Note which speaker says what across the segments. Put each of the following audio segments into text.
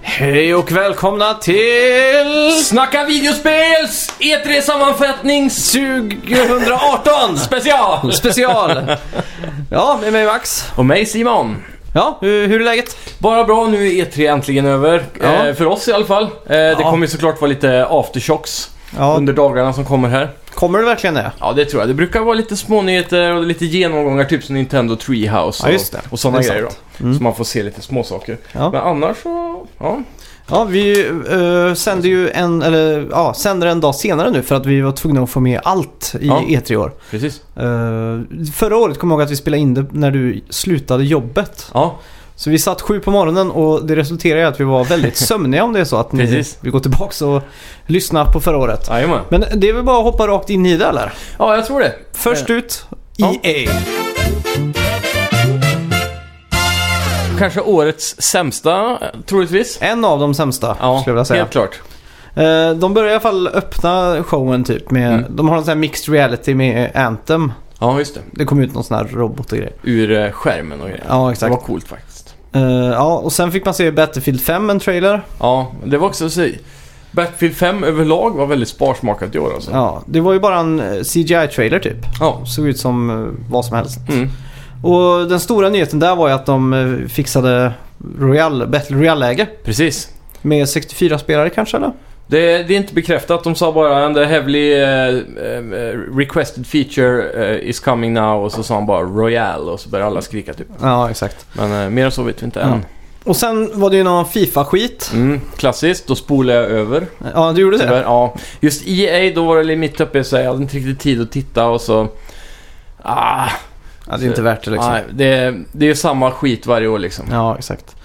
Speaker 1: Hej och välkomna till...
Speaker 2: Snacka E videospels E3 sammanfattnings
Speaker 1: 2018!
Speaker 2: special!
Speaker 1: Special! Ja, med mig Max.
Speaker 2: Och mig Simon.
Speaker 1: Ja, hur, hur är läget?
Speaker 2: Bara bra, nu är E3 äntligen över.
Speaker 1: Ja.
Speaker 2: Eh, för oss i alla fall. Eh, Det
Speaker 1: Ja.
Speaker 2: kommer ju såklart vara lite aftershocks
Speaker 1: Ja.
Speaker 2: under dagarna som kommer här.
Speaker 1: Kommer det verkligen det?
Speaker 2: Ja, det tror jag. Det brukar vara lite smånyheter och lite genomgångar, typ som Nintendo Treehouse
Speaker 1: Ja, just det.
Speaker 2: och, och sådana
Speaker 1: Det är
Speaker 2: grejer då.
Speaker 1: sant.
Speaker 2: Så man får se lite småsaker.
Speaker 1: Ja.
Speaker 2: Men annars så, ja.
Speaker 1: Ja, vi eh, sänder ju en, eller, ja, sänder en dag senare nu för att vi var tvungna att få med allt i
Speaker 2: Ja.
Speaker 1: E3 i år.
Speaker 2: Precis.
Speaker 1: Eh, förra året kom jag ihåg att vi spelade in det när du slutade jobbet.
Speaker 2: Ja,
Speaker 1: Så vi satt sju på morgonen och det resulterade i att vi var väldigt sömniga om det är så att ni
Speaker 2: Precis.
Speaker 1: vill gå tillbaka och lyssna på förra året.
Speaker 2: jajamän.
Speaker 1: Men det är väl bara att hoppa rakt in i det eller?
Speaker 2: Ja, jag tror det.
Speaker 1: Först ut,
Speaker 2: Ja.
Speaker 1: EA.
Speaker 2: Kanske årets sämsta, eh, troligtvis.
Speaker 1: En av de sämsta skulle jag vilja säga.
Speaker 2: helt klart.
Speaker 1: Eh, De börjar i alla fall öppna showen typ med,
Speaker 2: Mm.
Speaker 1: de har en sån här mixed reality med Anthem.
Speaker 2: Ja, just det.
Speaker 1: Det kom ut någon sån här robot och grejer.
Speaker 2: Ur eh, skärmen och grejer.
Speaker 1: Ja,
Speaker 2: Det
Speaker 1: exakt.
Speaker 2: var coolt faktiskt.
Speaker 1: Eh, ja, och sen fick man se Battlefield 5, en trailer.
Speaker 2: Ja, det var också så. Battlefield 5 överlag var väldigt sparsmakat i år alltså.
Speaker 1: Ja, det var ju bara en eh, CGI-trailer typ.
Speaker 2: Ja.
Speaker 1: Såg ut som eh, vad som helst.
Speaker 2: Mm.
Speaker 1: Och den stora nyheten där var ju att de eh, fixade Royal, Battle Royale-läge.
Speaker 2: Precis.
Speaker 1: Med 64 spelare kanske eller?
Speaker 2: Det, det är inte bekräftat. De sa bara en heavily eh, eh, requested feature eh, is coming now och så sa han bara Royal och så började alla skrika typ.
Speaker 1: Ja, exakt.
Speaker 2: Men eh, mer än så vet vi inte än.
Speaker 1: Mm. Och sen var det ju någon Fifa-skit.
Speaker 2: Mm, klassiskt, då spolar jag över.
Speaker 1: Ja, du gjorde det?
Speaker 2: Tyvärr, ja. Just EA, då var det lite mitt uppe i så jag hade inte riktigt tid att titta och så... Ah,
Speaker 1: Ja, det är inte värt det liksom.
Speaker 2: nej, det, det är ju samma skit varje år liksom.
Speaker 1: Ja, exakt.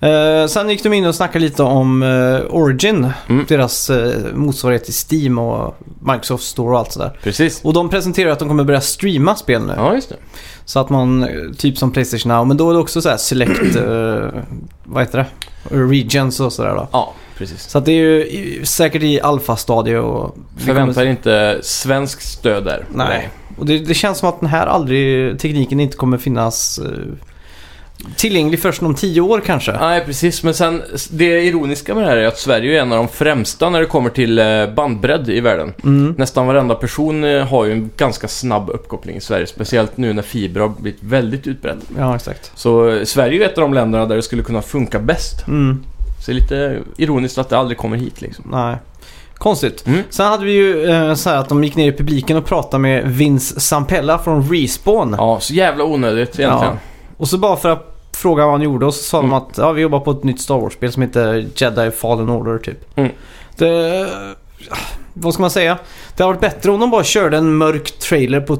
Speaker 1: Eh, sen gick de in och snackade lite om eh, Origin.
Speaker 2: Mm.
Speaker 1: Deras eh, motsvarighet till Steam och Microsoft Store och allt sådär.
Speaker 2: Precis.
Speaker 1: Och de presenterar att de kommer börja streama spel nu.
Speaker 2: Ja, just det.
Speaker 1: Så att man, eh, typ som Playstation Now, men då är det också så här select, eh, vad heter det? Regions och sådär då.
Speaker 2: Ja, precis.
Speaker 1: Så att det är ju i- säkert i alfa-stadie och... det
Speaker 2: Förväntar
Speaker 1: kommer-
Speaker 2: inte svensk stöd där.
Speaker 1: Nej. Och det, det känns som att den här aldrig, tekniken inte kommer finnas eh, tillgänglig först om tio år kanske.
Speaker 2: Nej, precis. Men sen, det ironiska med det här är att Sverige är en av de främsta när det kommer till eh, bandbredd i världen.
Speaker 1: Mm.
Speaker 2: Nästan varenda person eh, har ju en ganska snabb uppkoppling i Sverige, speciellt nu när fiber har blivit väldigt utbredd.
Speaker 1: Ja, exakt.
Speaker 2: Så eh, Sverige är ett av de länderna där det skulle kunna funka bäst.
Speaker 1: Mm.
Speaker 2: Så det är lite ironiskt att det aldrig kommer hit liksom.
Speaker 1: Nej. Konstigt.
Speaker 2: Mm.
Speaker 1: Sen hade vi ju eh, så här att de gick ner i publiken och pratade med Vince Sampella från Respawn.
Speaker 2: Ja, så jävla onödigt egentligen.
Speaker 1: Och så bara för att fråga vad han gjorde och så sa
Speaker 2: Mm.
Speaker 1: de att ja, vi jobbar på ett nytt Star Wars-spel som heter Jedi Fallen Order typ.
Speaker 2: Mm.
Speaker 1: Det, ah, vad ska man säga? Det hade varit bättre om de bara körde en mörk trailer på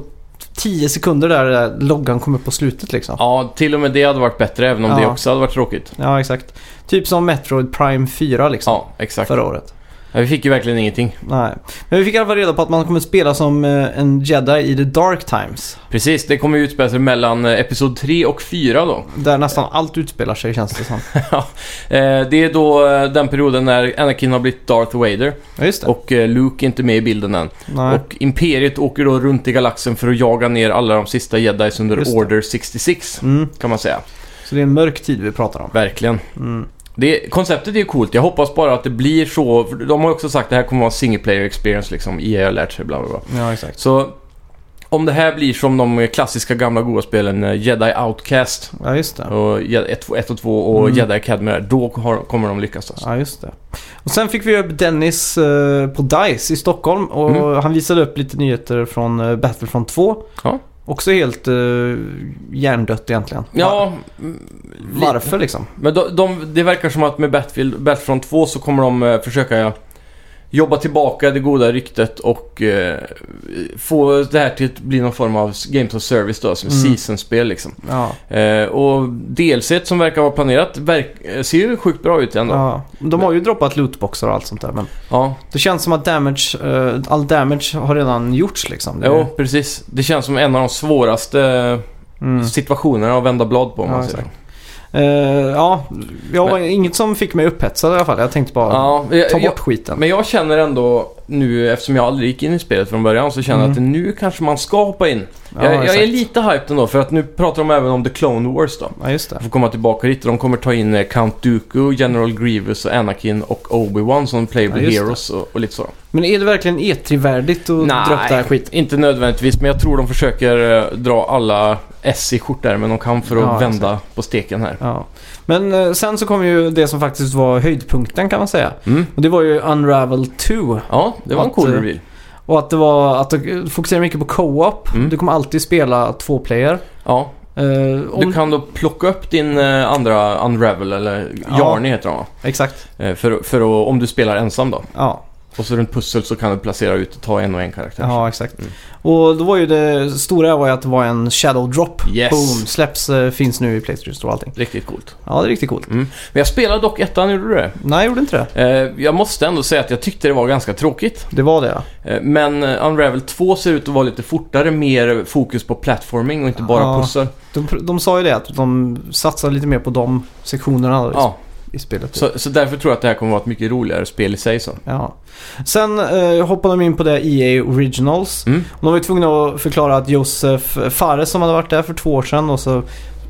Speaker 1: 10 sekunder där eh, loggan kommer på slutet liksom. Ja,
Speaker 2: Ja. till och med det hade varit bättre, även om det
Speaker 1: Ja.
Speaker 2: också hade varit tråkigt.
Speaker 1: exakt. Typ som Metroid Prime 4 liksom.
Speaker 2: Ja, exakt.
Speaker 1: Förra året.
Speaker 2: Ja, vi fick ju verkligen ingenting.
Speaker 1: Nej. Men vi fick i alla fall reda på att man kommer spela som eh, en jedi i The Dark Times.
Speaker 2: Precis, det kommer ju utspela sig mellan eh, Episod 3 och 4 då.
Speaker 1: Där nästan allt utspelar sig känns det som.
Speaker 2: Eh, Det är då eh, den perioden när Anakin har blivit Darth Vader
Speaker 1: Ja, just det.
Speaker 2: och eh, Luke är inte med i bilden än.
Speaker 1: Nej.
Speaker 2: Och Imperiet åker då runt i galaxen för att jaga ner alla de sista jedis under
Speaker 1: Just det.
Speaker 2: Order 66,
Speaker 1: Mm.
Speaker 2: kan man säga.
Speaker 1: Så det är en mörk tid vi pratar om.
Speaker 2: Verkligen.
Speaker 1: Mm.
Speaker 2: Det, konceptet är ju coolt. Jag hoppas bara att det blir så. för De har ju också sagt att det här kommer vara en single player experience liksom. EA har lärt sig bla bla bla.
Speaker 1: Ja, exakt.
Speaker 2: Så om det här blir som de klassiska gamla goa spelen eh, Jedi Outcast
Speaker 1: Ja, just det.
Speaker 2: och 1 och 2 och
Speaker 1: Mm.
Speaker 2: Jedi Academy där, då har, kommer de lyckas alltså.
Speaker 1: Ja, just det. Och sen fick vi upp Dennis eh, på DICE i Stockholm och
Speaker 2: Mm.
Speaker 1: han visade upp lite nyheter från eh, Battlefront 2.
Speaker 2: Ja.
Speaker 1: Också helt eh, hjärndött egentligen.
Speaker 2: Ja,
Speaker 1: Va-
Speaker 2: lite.
Speaker 1: Varför liksom?
Speaker 2: men de, de, det verkar som att med Battlefield, Battlefront 2 så kommer de eh, försöka jobba tillbaka det goda ryktet och eh, få det här till att bli någon form av Games of Service då, som
Speaker 1: Mm.
Speaker 2: season-spel liksom.
Speaker 1: Ja.
Speaker 2: Eh, och DLC et som verkar vara planerat verk- eh, ser ju sjukt bra ut ändå. Ja.
Speaker 1: ja. De har ju droppat lootboxar och allt sånt där men det känns som att damage, eh, all damage har redan gjorts liksom. Det-
Speaker 2: Jo, precis. Det känns som en av de svåraste
Speaker 1: Mm.
Speaker 2: situationerna att vända blad på om
Speaker 1: Ja,
Speaker 2: man säger.
Speaker 1: exakt. Eh, ja, jag var inget som fick mig upphetsad i alla fall. Jag tänkte bara
Speaker 2: Ja, jag,
Speaker 1: ta bort
Speaker 2: jag,
Speaker 1: skiten.
Speaker 2: men jag känner ändå nu, eftersom jag aldrig gick in i spelet från början, så känner jag
Speaker 1: Mm.
Speaker 2: att nu kanske man ska hoppa in. jag, jag är
Speaker 1: exakt.
Speaker 2: lite hyped ändå för att nu pratar de även om The Clone Wars då.
Speaker 1: Ja, just det.
Speaker 2: Jag får komma tillbaka dit. De kommer ta in eh, Count Dooku, General Grievous och Anakin och Obi-Wan som playable
Speaker 1: Ja, just det.
Speaker 2: heroes och, och lite så.
Speaker 1: Men är det verkligen E3-värdigt att dra upp det här skiten?
Speaker 2: inte nödvändigtvis. Men jag tror de försöker eh, dra alla S i skjortärmen de kan för att
Speaker 1: Ja,
Speaker 2: vända på steken här.
Speaker 1: Ja. Men eh, sen så kom ju det som faktiskt var höjdpunkten kan man säga.
Speaker 2: Mm.
Speaker 1: Och det var ju Unravel 2.
Speaker 2: Ja, det var en
Speaker 1: Att,
Speaker 2: cool
Speaker 1: eh,
Speaker 2: reveal.
Speaker 1: Och att det var att de fokuserar mycket på co-op.
Speaker 2: Mm.
Speaker 1: Du kommer alltid spela två player.
Speaker 2: Ja,
Speaker 1: Eh, om...
Speaker 2: du kan då plocka upp din eh, andra Unravel, eller
Speaker 1: Ja.
Speaker 2: Yarny heter de va?
Speaker 1: Exakt.
Speaker 2: Eh, För, för att, om du spelar ensam då.
Speaker 1: Ja,
Speaker 2: Och så runt pussel så kan du placera ut och ta en och en karaktär.
Speaker 1: ja exakt.
Speaker 2: Mm.
Speaker 1: Och då var ju det stora var ju att det var en shadow drop.
Speaker 2: Yes!
Speaker 1: Boom, släpps, eh, finns nu i Playstation Store och allting.
Speaker 2: Riktigt coolt.
Speaker 1: Ja, det är riktigt coolt.
Speaker 2: Men jag spelade dock ettan, gjorde du det?
Speaker 1: Nej, jag gjorde inte det.
Speaker 2: Eh, Jag måste ändå säga att jag tyckte det var ganska tråkigt.
Speaker 1: Det var det ja.
Speaker 2: Eh, Men eh, Unravel 2 ser ut att vara lite fortare, mer fokus på platforming och inte bara
Speaker 1: Ja.
Speaker 2: pussel.
Speaker 1: De, de sa ju det att de satsar lite mer på de sektionerna i,
Speaker 2: Ja,
Speaker 1: i spelet. typ.
Speaker 2: så, så därför tror jag att det här kommer vara ett mycket roligare spel i sig sen.
Speaker 1: Ja. Sen eh, hoppade de in på det EA Originals.
Speaker 2: Mm.
Speaker 1: Och De var ju tvungna att förklara att Josef Fares som hade varit där för två år sedan och så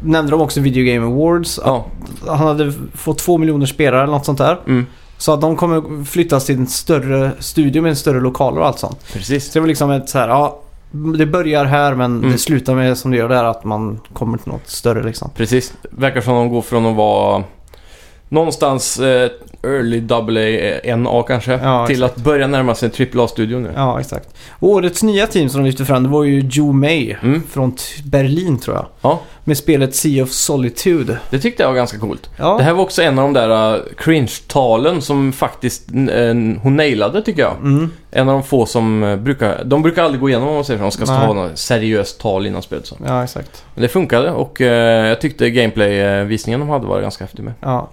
Speaker 1: nämnde de också Video Game Awards.
Speaker 2: Ja,
Speaker 1: Att han hade fått två miljoner spelare eller något sånt där.
Speaker 2: mm.
Speaker 1: Så att de kommer flyttas till en större studio med en större lokaler och allt sånt.
Speaker 2: precis.
Speaker 1: Så det var liksom ett så här, ja, det börjar här men
Speaker 2: Mm.
Speaker 1: det slutar med som det gör där att man kommer till något större liksom.
Speaker 2: Precis. Verkar som de går från att vara någonstans eh, early AA, NA kanske,
Speaker 1: Ja,
Speaker 2: till att börja närma sig en AAA-studio nu.
Speaker 1: Ja, exakt. Och årets nya team som de lyfte fram det var ju Joe May
Speaker 2: Mm.
Speaker 1: från t- Berlin tror jag.
Speaker 2: Ja.
Speaker 1: Med spelet Sea of Solitude.
Speaker 2: Det tyckte jag var ganska coolt.
Speaker 1: Ja.
Speaker 2: Det här var också en av de där eh, cringe-talen som faktiskt eh, hon nailade tycker jag.
Speaker 1: Mm.
Speaker 2: En av de få som eh, brukar... De brukar aldrig gå igenom om man säger så. De ska
Speaker 1: Nej.
Speaker 2: ha något seriöst tal innan spelet. Så.
Speaker 1: Ja, exakt.
Speaker 2: Men det funkade och eh, jag tyckte gameplay-visningen de hade var ganska häftig med.
Speaker 1: Ja.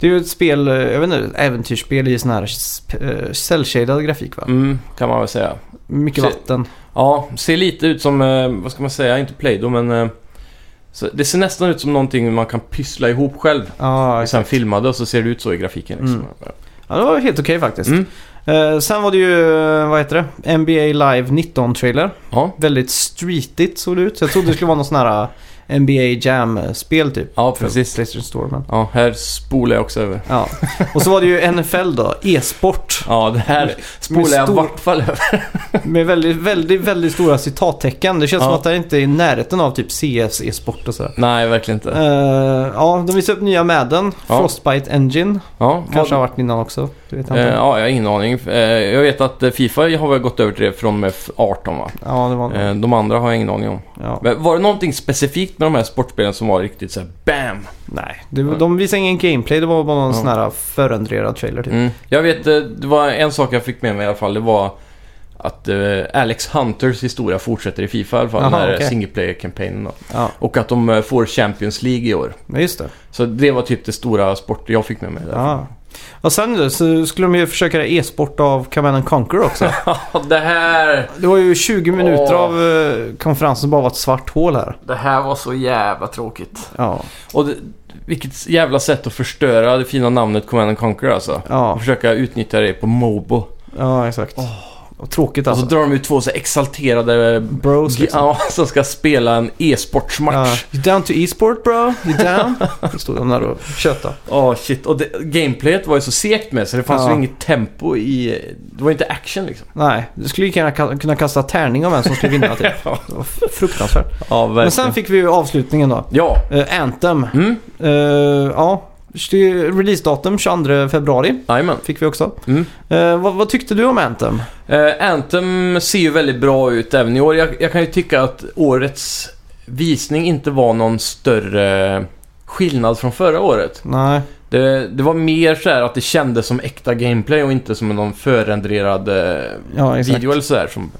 Speaker 1: Det är ju ett spel, eh, jag vet inte, äventyrsspel i sån här sp- eh, cell-shaded grafik va?
Speaker 2: Mm, kan man väl säga.
Speaker 1: Mycket
Speaker 2: Se-
Speaker 1: vatten.
Speaker 2: Ja, ser lite ut som, eh, vad ska man säga, inte Play-Doh men... Eh, så det ser nästan ut som någonting man kan pyssla ihop själv.
Speaker 1: Ja,
Speaker 2: Och sen filmade och så ser det ut så i grafiken. Liksom.
Speaker 1: Mm. ja, det var helt okej faktiskt.
Speaker 2: Mm.
Speaker 1: Eh, sen var det ju, eh, vad heter det? NBA Live 19-trailer.
Speaker 2: Ja.
Speaker 1: Väldigt streetigt såg det ut. Så jag trodde det skulle vara någon sån här eh, NBA Jam-spel typ.
Speaker 2: ja,
Speaker 1: För
Speaker 2: precis.
Speaker 1: Playstation Store men.
Speaker 2: Ja, här spolar jag också över.
Speaker 1: Ja. Och så var det ju NFL då, e-sport.
Speaker 2: Ja, det här
Speaker 1: Med
Speaker 2: spolar jag i
Speaker 1: stor-
Speaker 2: vart fall över.
Speaker 1: Med väldigt, väldigt, väldigt stora citattecken. Det känns
Speaker 2: Ja.
Speaker 1: som att det här inte är i närheten av typ CS, e-sport och sådär.
Speaker 2: Nej, verkligen inte.
Speaker 1: Eh, ja, de visar upp nya Madden.
Speaker 2: Ja.
Speaker 1: Frostbite Engine.
Speaker 2: Ja,
Speaker 1: Kanske
Speaker 2: vad-
Speaker 1: har varit innan också. Det vet jag
Speaker 2: Eh,
Speaker 1: inte. Ja.
Speaker 2: ja, jag har ingen aning. Eh, jag vet att eh, Fifa har väl gått över till det från och med f- 18 va?
Speaker 1: det var nog.
Speaker 2: Eh, de andra har jag ingen aning om.
Speaker 1: Ja.
Speaker 2: Men var det någonting specifikt med de här sportspelen som var riktigt såhär BAM?
Speaker 1: Nej, det, var- de visade ingen gameplay. Det var bara någon
Speaker 2: Ja.
Speaker 1: sån här förändrad trailer typ.
Speaker 2: Mm. Jag vet, eh, det var en sak jag fick med mig i alla fall. Det var att eh, Alex Hunters historia fortsätter i Fifa i alla fall.
Speaker 1: Jaha,
Speaker 2: den här
Speaker 1: okej.
Speaker 2: single player-kampanjen då.
Speaker 1: Ja,
Speaker 2: Och att de eh, får Champions League i år.
Speaker 1: men just det.
Speaker 2: Så det var typ det stora sport jag fick med mig där.
Speaker 1: Ja. Och sen då, så skulle de ju försöka göra e-sport av Command and Conquer också.
Speaker 2: det, här,
Speaker 1: det var ju 20 minuter
Speaker 2: Åh.
Speaker 1: av eh, konferensen bara var ett svart hål här.
Speaker 2: det här var så jävla tråkigt.
Speaker 1: Ja,
Speaker 2: Och det, vilket jävla sätt att förstöra det fina namnet Command and Conquer alltså.
Speaker 1: ja,
Speaker 2: Och försöka utnyttja det på Mobo.
Speaker 1: ja exakt. Och tråkigt
Speaker 2: Och så
Speaker 1: alltså.
Speaker 2: drar de ut två så exalterade
Speaker 1: Bros liksom.
Speaker 2: ja, som ska spela en e-sportsmatch.
Speaker 1: Ja. You down to e-sport bro? You down? Då Stod de där och tjötade.
Speaker 2: Åh shit. Och det, gameplayet var ju så segt med så det fanns
Speaker 1: Ja.
Speaker 2: ju inget tempo i... Det var ju inte action liksom.
Speaker 1: Nej, du skulle lika gärna ka- kunna kasta tärning om vem som skulle vinna. Typ.
Speaker 2: Ja,
Speaker 1: Det var f- fruktansvärt.
Speaker 2: ja
Speaker 1: Men sen fick vi ju avslutningen då.
Speaker 2: Ja.
Speaker 1: Eh, Anthem.
Speaker 2: Mm,
Speaker 1: Eh, ja, det är ju releasedatum 22 februari.
Speaker 2: jajamän.
Speaker 1: Fick vi också.
Speaker 2: Mm.
Speaker 1: Eh, vad, vad tyckte du om Anthem?
Speaker 2: Eh, Anthem ser ju väldigt bra ut även i år. Jag, jag kan ju tycka att årets visning inte var någon större skillnad från förra året.
Speaker 1: Nej.
Speaker 2: Det, det var mer så här att det kändes som äkta gameplay och inte som någon förrenderad eh,
Speaker 1: Ja, exakt.
Speaker 2: video eller sådär. Som,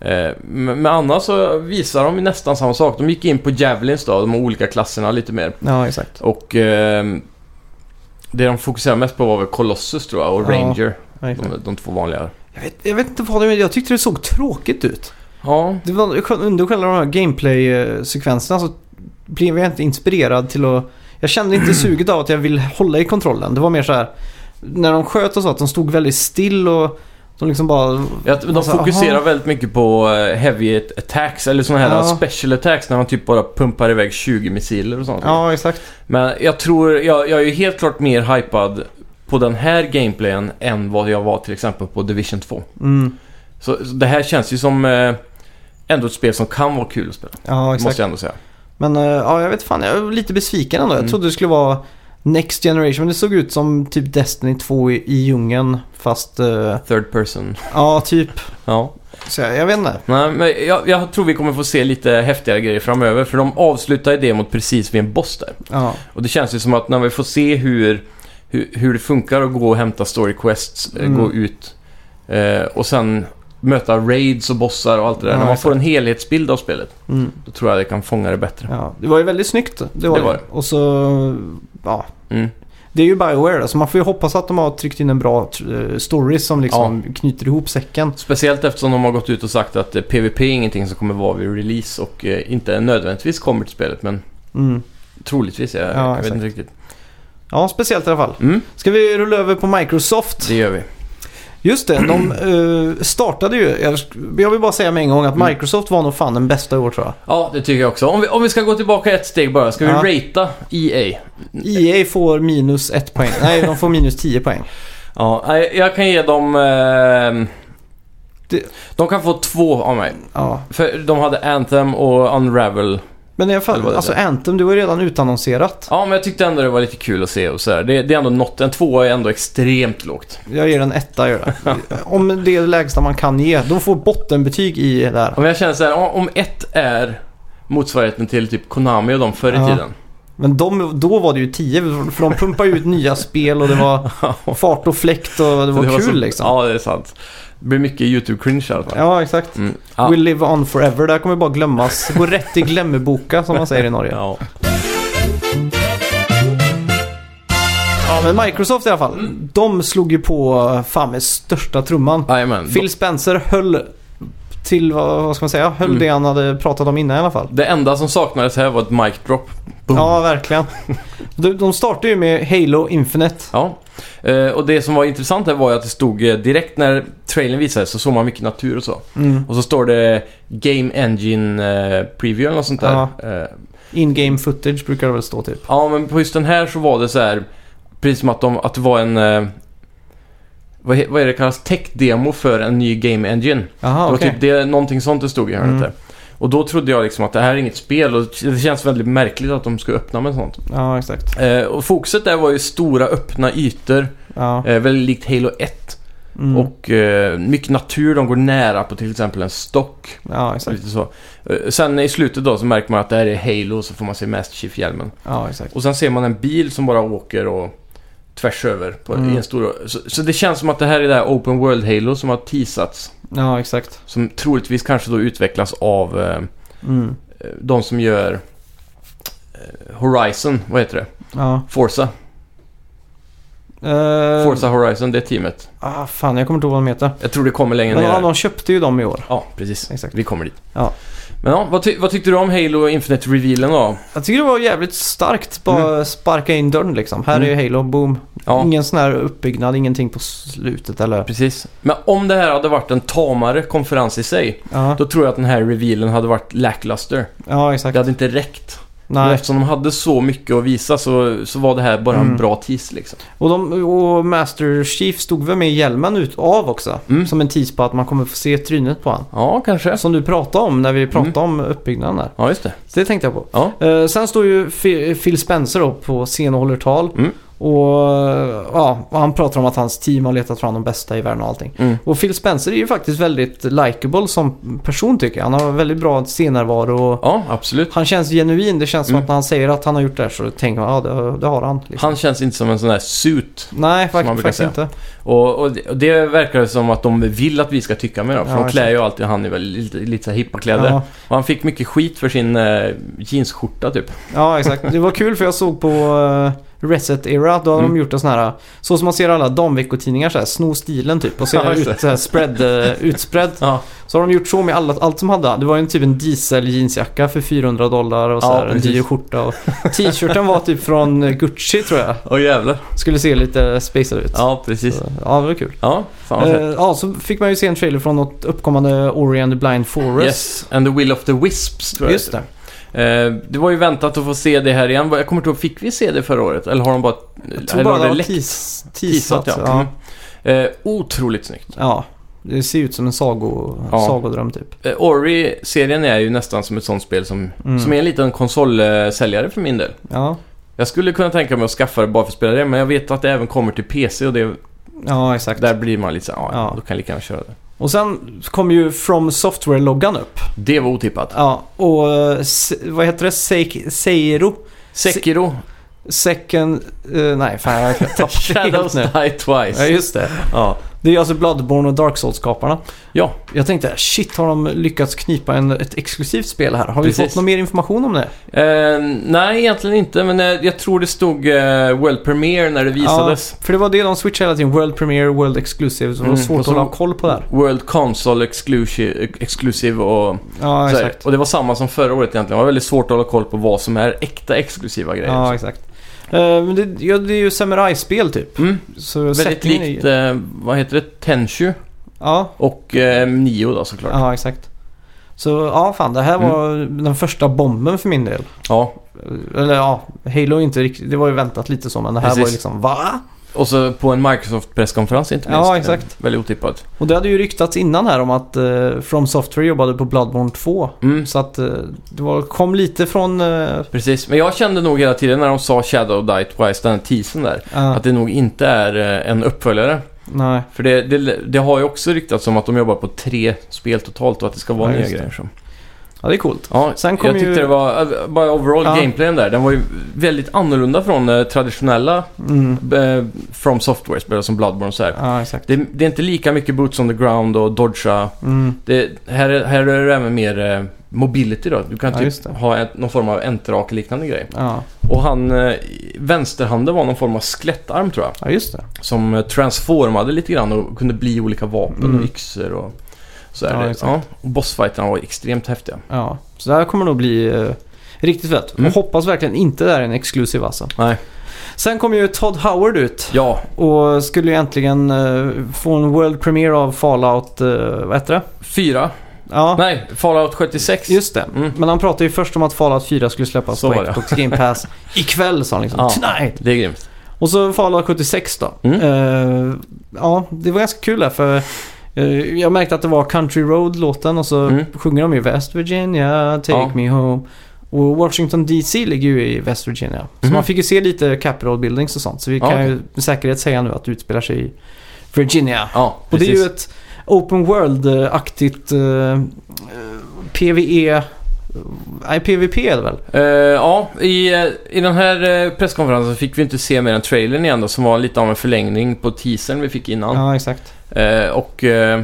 Speaker 2: eh, men men annars så visar de ju nästan samma sak. De gick in på Javelins då, de olika klasserna lite mer.
Speaker 1: Ja, exakt.
Speaker 2: Och eh, det de fokuserade mest på var väl Colossus tror jag och
Speaker 1: Ja,
Speaker 2: Ranger.
Speaker 1: Ja, exakt.
Speaker 2: De, de två vanliga.
Speaker 1: Jag, vet, jag vet inte vad det är, jag tyckte det såg tråkigt ut.
Speaker 2: Ja,
Speaker 1: Det var, jag kunde- under själva de här gameplay-sekvenserna så blev jag inte inspirerad till att... Jag kände inte suget av att jag vill hålla i kontrollen. Det var mer så här... När de sköt och så, att de stod väldigt still och De liksom bara...
Speaker 2: Ja, de
Speaker 1: Alltså,
Speaker 2: fokuserar
Speaker 1: aha.
Speaker 2: väldigt mycket på eh, heavy attacks eller sådana här
Speaker 1: Ja.
Speaker 2: special attacks när man typ bara pumpar iväg 20 missiler och sånt.
Speaker 1: Ja, exakt.
Speaker 2: Men jag tror, jag, jag är ju helt klart mer hypad på den här gameplayen än vad jag var till exempel på Division 2.
Speaker 1: Mm.
Speaker 2: Så, så det här känns ju som eh, ändå ett spel som kan vara kul att spela.
Speaker 1: Ja, exakt.
Speaker 2: Måste jag ändå säga.
Speaker 1: Men eh, ja, jag vet fan, jag är lite besviken ändå. Jag
Speaker 2: Mm.
Speaker 1: trodde det skulle vara Next Generation, men det såg ut som typ Destiny 2 i, i djungeln. Fast, eh,
Speaker 2: Third person.
Speaker 1: ja typ.
Speaker 2: Ja.
Speaker 1: Så jag, jag vet inte.
Speaker 2: Nej, men jag, jag tror vi kommer få se lite häftigare grejer framöver för de avslutar ju demot precis vid en boss där.
Speaker 1: Ja,
Speaker 2: Och det känns ju som att när vi får se hur, hur, hur det funkar att gå och hämta story quests, eh,
Speaker 1: Mm.
Speaker 2: gå ut eh, och sen möta raids och bossar och allt det där.
Speaker 1: Ja,
Speaker 2: när man
Speaker 1: exakt.
Speaker 2: får en helhetsbild av spelet,
Speaker 1: mm,
Speaker 2: då tror jag det kan fånga det bättre.
Speaker 1: ja. Det var ju väldigt snyggt. Det var
Speaker 2: Det var
Speaker 1: det. Och så, ja.
Speaker 2: Mm.
Speaker 1: Det är ju Bioware, så man får ju hoppas att de har tryckt in en bra eh, story som liksom knyter ihop säcken.
Speaker 2: Speciellt eftersom de har gått ut och sagt att eh, PVP är ingenting som kommer vara vid release och eh, inte nödvändigtvis kommer till spelet, men
Speaker 1: Mm.
Speaker 2: troligtvis. Jag,
Speaker 1: Ja,
Speaker 2: jag vet
Speaker 1: exakt.
Speaker 2: inte riktigt.
Speaker 1: Ja, speciellt i alla fall.
Speaker 2: Mm,
Speaker 1: Ska vi rulla över på Microsoft?
Speaker 2: det gör vi.
Speaker 1: Just det, de eh, startade ju. Jag, jag vill bara säga med en gång att
Speaker 2: Mm.
Speaker 1: Microsoft var nog fan den bästa i år tror jag.
Speaker 2: Ja, det tycker jag också. Om vi, om vi ska gå tillbaka ett steg bara, ska vi E
Speaker 1: Ja.
Speaker 2: ratea EA?
Speaker 1: EA E får minus ett poäng. Nej, de får minus 10 poäng.
Speaker 2: Ja, nej, jag kan ge dem... ehm,
Speaker 1: Det-
Speaker 2: De kan få två av mig.
Speaker 1: Ja.
Speaker 2: För de hade Anthem och Unravel.
Speaker 1: Men i alla
Speaker 2: Det
Speaker 1: fall,
Speaker 2: var det.
Speaker 1: alltså Anthem, det var ju redan utannonserat.
Speaker 2: Ja, men jag tyckte ändå det var lite kul att se och sådär. Det, det är ändå något. En tvåa är ändå extremt lågt.
Speaker 1: Jag ger en etta, gör jag. Om det är det lägsta man kan ge. De får bottenbetyg i det här.
Speaker 2: Om jag känner så här, om- om ett är motsvarigheten till typ Konami och de förr i
Speaker 1: Ja.
Speaker 2: tiden.
Speaker 1: Men de, då var det ju 10, för de pumpade ju ut nya spel och det var fart och fläkt och det var kul
Speaker 2: så-
Speaker 1: liksom. Ja,
Speaker 2: Ja, det är sant. Det blir mycket YouTube-cringe i alla fall.
Speaker 1: exakt.
Speaker 2: Mm. Ja.
Speaker 1: We'll live on forever, det här kommer bara glömmas. Gå rätt i glömmeboka som man säger i Norge.
Speaker 2: Ja.
Speaker 1: Ja, men Microsoft i alla fall.
Speaker 2: Mm.
Speaker 1: De slog ju på fan med största trumman.
Speaker 2: Jajamän.
Speaker 1: Phil Spencer höll till, vad, vad ska man säga, höll
Speaker 2: Mm.
Speaker 1: det han hade pratat om innan i alla fall.
Speaker 2: Det enda som saknades här var ett mic drop. Boom.
Speaker 1: Ja, verkligen. De, de startade ju med Halo Infinite.
Speaker 2: Ja, eh, och det som var intressant här var ju att det stod eh, direkt när trailern visades så såg man mycket natur och så.
Speaker 1: Mm.
Speaker 2: Och så står det Game Engine eh, Preview eller något sånt där.
Speaker 1: Ja.
Speaker 2: Eh,
Speaker 1: In-game footage brukar det väl stå typ.
Speaker 2: ja, men på just den här så var det så här precis som att, de, att det var en eh, vad, he- vad är det kallas? Tech-demo för en ny Game Engine. det
Speaker 1: Jaha,
Speaker 2: var
Speaker 1: okej.
Speaker 2: typ det, någonting sånt det stod i hörnet
Speaker 1: Mm.
Speaker 2: där. Och då trodde jag liksom att det här är inget spel och det känns väldigt märkligt att de ska öppna med sånt.
Speaker 1: Ja, exakt.
Speaker 2: Eh, och fokuset där var ju stora öppna ytor,
Speaker 1: Ja.
Speaker 2: eh, väldigt likt Halo 1.
Speaker 1: Mm.
Speaker 2: Och eh, mycket natur, de går nära på till exempel en stock.
Speaker 1: ja, exakt.
Speaker 2: Lite så. Eh, sen i slutet då så märker man att det här är Halo och så får man se Master Chief-hjälmen.
Speaker 1: Ja, exakt.
Speaker 2: Och sen ser man en bil som bara åker och tvärs över på,
Speaker 1: Mm.
Speaker 2: i en stor... Så, så det känns som att det här är det här Open World Halo som har teasats.
Speaker 1: Ja, exakt.
Speaker 2: Som troligtvis kanske då utvecklas av eh,
Speaker 1: Mm.
Speaker 2: de som gör eh, Horizon, vad heter det?
Speaker 1: Ja.
Speaker 2: Forza.
Speaker 1: Eh,
Speaker 2: Forza Horizon, det är teamet.
Speaker 1: Ah, fan, jag kommer inte ihåg vad de heter.
Speaker 2: Jag tror det kommer längre
Speaker 1: Men
Speaker 2: ner.
Speaker 1: ja, de köpte ju dem i år.
Speaker 2: Ja, precis.
Speaker 1: Exakt.
Speaker 2: Vi kommer dit.
Speaker 1: Ja.
Speaker 2: Men ja, vad, ty- vad tyckte du om Halo Infinite-revealen då?
Speaker 1: Jag tycker det var jävligt starkt. Bara sparka in dörren liksom. Här är Halo, boom.
Speaker 2: Mm. Ja,
Speaker 1: Ingen sån här uppbyggnad, ingenting på slutet eller...
Speaker 2: precis. Men om det här hade varit en tamare konferens i sig,
Speaker 1: Ja,
Speaker 2: då tror jag att den här revealen hade varit lackluster.
Speaker 1: ja exakt.
Speaker 2: Det hade inte räckt. Men
Speaker 1: Nej.
Speaker 2: eftersom de hade så mycket att visa så, så var det här bara en
Speaker 1: Mm.
Speaker 2: bra tease liksom.
Speaker 1: Och, de, och Master Chief stod väl med hjälmen ut av också.
Speaker 2: Mm.
Speaker 1: Som en tease på att man kommer få se trynet på han.
Speaker 2: Ja, Mm. kanske.
Speaker 1: Som du pratade om när vi pratade om uppbyggnaden där.
Speaker 2: Ja, just det.
Speaker 1: Så det tänkte jag på.
Speaker 2: Ja.
Speaker 1: Eh, sen står ju Fi- Phil Spencer då på scen och håller tal.
Speaker 2: Mm.
Speaker 1: Och eh, ja, och han pratar om att hans team har letat fram de bästa i världen och allting.
Speaker 2: Mm.
Speaker 1: Och Phil Spencer är ju faktiskt väldigt likable som person tycker jag. Han har väldigt bra scennärvaro och
Speaker 2: Ja, absolut.
Speaker 1: han känns genuin. Det känns som
Speaker 2: Mm.
Speaker 1: att när han säger att han har gjort det här så tänker man ja det, det har han. Liksom.
Speaker 2: Han känns inte som en sån där suit.
Speaker 1: Nej, fakt-
Speaker 2: man brukar
Speaker 1: faktiskt
Speaker 2: säga.
Speaker 1: inte.
Speaker 2: Och, och, det, och det verkar som att de vill att vi ska tycka med dem. För
Speaker 1: Ja,
Speaker 2: de klär
Speaker 1: exakt.
Speaker 2: ju alltid han i väldigt, lite, lite så här hippa kläder.
Speaker 1: Ja,
Speaker 2: Och han fick mycket skit för sin eh, jeansskjorta typ.
Speaker 1: ja, exakt. Det var kul för jag såg på eh, Reset Era, då hade
Speaker 2: Mm.
Speaker 1: de gjort en sån här, så som man ser alla damveckotidningar så här, sno stilen typ och
Speaker 2: Ja,
Speaker 1: ser
Speaker 2: just det.
Speaker 1: ut så här spread, eh, utspread.
Speaker 2: Ja,
Speaker 1: Så har de gjort så med alla, allt som hade. Det var ju en typ en diesel jeansjacka för 400 dollar och så
Speaker 2: Ja,
Speaker 1: här, en dyr
Speaker 2: precis.
Speaker 1: skjorta. Och t-shirten var typ från eh, Gucci tror jag.
Speaker 2: åh jävlar.
Speaker 1: Skulle se lite spacad ut.
Speaker 2: Ja, precis.
Speaker 1: Så, ja, det var kul.
Speaker 2: Ja, fan vad fett.
Speaker 1: Eh, ja, så fick man ju se en trailer från något uppkommande Ori and the Blind Forest.
Speaker 2: Yes, and the Will of the Wisps tror jag
Speaker 1: Just det.
Speaker 2: Eh, det var ju väntat att få se det här igen. Jag kommer inte ihåg, fick vi se det förra året? Eller har de bara...
Speaker 1: Jag tror
Speaker 2: eller
Speaker 1: bara
Speaker 2: har
Speaker 1: det var
Speaker 2: läckt?
Speaker 1: tis,
Speaker 2: Teasat,
Speaker 1: tisat. Ja.
Speaker 2: Mm. Eh, otroligt snyggt.
Speaker 1: ja, det ser ut som en sago,
Speaker 2: Ja.
Speaker 1: sagodröm typ.
Speaker 2: Eh, Ori-serien är ju nästan som ett sånt spel som,
Speaker 1: Mm.
Speaker 2: som är en liten konsolsäljare för min del.
Speaker 1: Ja,
Speaker 2: Jag skulle kunna tänka mig att skaffa det bara för att spela det, men jag vet att det även kommer till PC och det,
Speaker 1: ja exakt.
Speaker 2: där blir man lite så här, ja,
Speaker 1: Ja.
Speaker 2: då kan jag lika gärna köra det.
Speaker 1: Och sen kom ju From Software-loggan upp.
Speaker 2: Det var otippat.
Speaker 1: Ja, och eh, se- vad heter det? Seik- Seiro?
Speaker 2: Sekiro,
Speaker 1: Second... eh, nej, fan jag tappade det
Speaker 2: Shadows
Speaker 1: helt nu.
Speaker 2: Die Twice.
Speaker 1: Ja, just det.
Speaker 2: Ja.
Speaker 1: Det är ju alltså Bloodborne och Dark Souls-skaparna.
Speaker 2: Ja.
Speaker 1: Jag tänkte, shit, har de lyckats knipa en, ett exklusivt spel här? Har vi
Speaker 2: Precis.
Speaker 1: fått någon mer information om det?
Speaker 2: Eh, nej, egentligen inte, men eh, jag tror det stod eh, World Premiere när det visades.
Speaker 1: För det var det de switchade hela tiden. World Premiere, World Exclusive. Så det var
Speaker 2: Mm,
Speaker 1: svårt
Speaker 2: och
Speaker 1: att
Speaker 2: så-
Speaker 1: hålla koll på det här.
Speaker 2: World Console Exclusive, exclusive och
Speaker 1: Ja,
Speaker 2: så här.
Speaker 1: exakt.
Speaker 2: Och det var samma som förra året egentligen. Det var väldigt svårt att hålla koll på vad som är äkta exklusiva grejer.
Speaker 1: Ja, exakt. Eh, men det, ja, det är ju samurajspel typ.
Speaker 2: Mm.
Speaker 1: Så
Speaker 2: Väldigt
Speaker 1: settingen är
Speaker 2: likt,
Speaker 1: ju-
Speaker 2: eh, vad heter det, Tenshu
Speaker 1: Ja,
Speaker 2: och eh, Nio då såklart.
Speaker 1: ja, exakt. Så ja, fan det här
Speaker 2: Mm.
Speaker 1: var den första bomben för min del.
Speaker 2: Ja.
Speaker 1: Eller ja, Halo är inte riktigt, det var ju väntat lite så men det här
Speaker 2: Precis.
Speaker 1: var ju liksom va?
Speaker 2: Och så på en Microsoft-presskonferens inte
Speaker 1: Ja,
Speaker 2: minst.
Speaker 1: exakt.
Speaker 2: Eh, Väldigt otippat.
Speaker 1: Och det hade ju ryktats innan här om att eh, From Software jobbade på Bloodborne 2.
Speaker 2: Mm.
Speaker 1: Så att eh, det var, kom lite från... Eh,
Speaker 2: Precis, men jag kände nog hela tiden när de sa Shadow Die Twice, den här teasern där,
Speaker 1: ja,
Speaker 2: att det nog inte är eh, en uppföljare.
Speaker 1: nej.
Speaker 2: För det, det, det har ju också ryktats om att de jobbar på tre spel totalt och att det ska vara
Speaker 1: Ja,
Speaker 2: nya
Speaker 1: just det.
Speaker 2: grejer. Som.
Speaker 1: Ja, det är coolt.
Speaker 2: Ja,
Speaker 1: Sen kom
Speaker 2: jag tyckte
Speaker 1: ju-
Speaker 2: det var, eh, bara overall
Speaker 1: Ja.
Speaker 2: gameplayen där, den var ju väldigt annorlunda från eh, traditionella
Speaker 1: Mm.
Speaker 2: eh, From Software-spel som Bloodborne och så här.
Speaker 1: Ja, exakt.
Speaker 2: Det, det är inte lika mycket boots on the ground och dodga.
Speaker 1: Mm.
Speaker 2: Det, här, är- här är det även mer eh, mobility då. Du kan
Speaker 1: Ja,
Speaker 2: typ
Speaker 1: just det.
Speaker 2: ha ett, någon form av enterak liknande grej.
Speaker 1: Ja.
Speaker 2: Och han, eh, vänsterhanden var någon form av skelettarm tror jag.
Speaker 1: ja, just det.
Speaker 2: Som eh, transformade lite grann och kunde bli olika vapen
Speaker 1: Mm.
Speaker 2: och yxor och så
Speaker 1: Ja,
Speaker 2: är det.
Speaker 1: exakt.
Speaker 2: Ja, och bossfighterna var extremt häftiga.
Speaker 1: Ja. Så det här kommer nog bli eh, riktigt fett.
Speaker 2: Mm.
Speaker 1: Och hoppas verkligen inte det här är en exklusiv alltså.
Speaker 2: Nej.
Speaker 1: Sen kom ju Todd Howard ut
Speaker 2: Ja,
Speaker 1: och skulle ju äntligen eh, få en World Premiere av Fallout, eh, vad heter det?
Speaker 2: fyra.
Speaker 1: Ja,
Speaker 2: Nej, Fallout 76.
Speaker 1: Ah. just det.
Speaker 2: Mm.
Speaker 1: Men han pratade ju först om att Fallout 4 skulle släppas
Speaker 2: Så var
Speaker 1: på
Speaker 2: det.
Speaker 1: Xbox Game Pass ikväll sa han liksom.
Speaker 2: Ja.
Speaker 1: Tonight!
Speaker 2: Det är grymt.
Speaker 1: Och så Fallout 76 då.
Speaker 2: Mm.
Speaker 1: Eh, ja, det var ganska kul där för eh, jag märkte att det var Country Road-låten och så
Speaker 2: Mm.
Speaker 1: sjunger de ju West Virginia, Take
Speaker 2: Ja.
Speaker 1: Me Home. Och Washington DC ligger ju i West Virginia. Så
Speaker 2: Mhm.
Speaker 1: man fick ju se lite Capitol Buildings och sånt. Så vi
Speaker 2: Ja,
Speaker 1: kan
Speaker 2: okej.
Speaker 1: ju med säkerhet säga nu att det utspelar sig i Virginia.
Speaker 2: Ja,
Speaker 1: Och det är
Speaker 2: precis.
Speaker 1: ju ett Open World-aktigt eh, eh, PVE... eh, Nej, PVP är det väl?
Speaker 2: Eh, ja, i, eh, i den här eh, presskonferensen fick vi inte se mer än trailern igen då, som var lite av en förlängning på teasern vi fick innan.
Speaker 1: Ja, exakt.
Speaker 2: Eh, och, eh,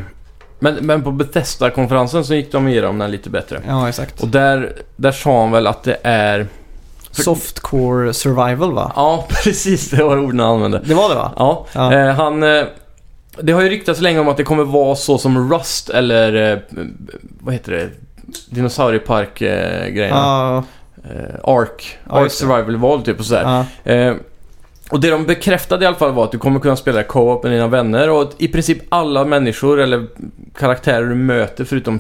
Speaker 2: men, men på Bethesda-konferensen så gick de igenom den lite bättre.
Speaker 1: Ja, exakt.
Speaker 2: Och där, där sa han väl att det är...
Speaker 1: Softcore survival va?
Speaker 2: Ja, precis. Det var orden han använde.
Speaker 1: Det var det va?
Speaker 2: Ja,
Speaker 1: Ja.
Speaker 2: Eh, han... Eh, det har ju ryktats länge om att det kommer vara så som Rust eller... Eh, vad heter det? Dinosauriepark-grejerna.
Speaker 1: Ja,
Speaker 2: Eh, Ark.
Speaker 1: Ja,
Speaker 2: Ark
Speaker 1: just det.
Speaker 2: Survival Evolved typ och sådär.
Speaker 1: ja,
Speaker 2: Eh, och det de bekräftade i alla fall var att du kommer kunna spela co-op med dina vänner och att i princip alla människor eller karaktärer du möter förutom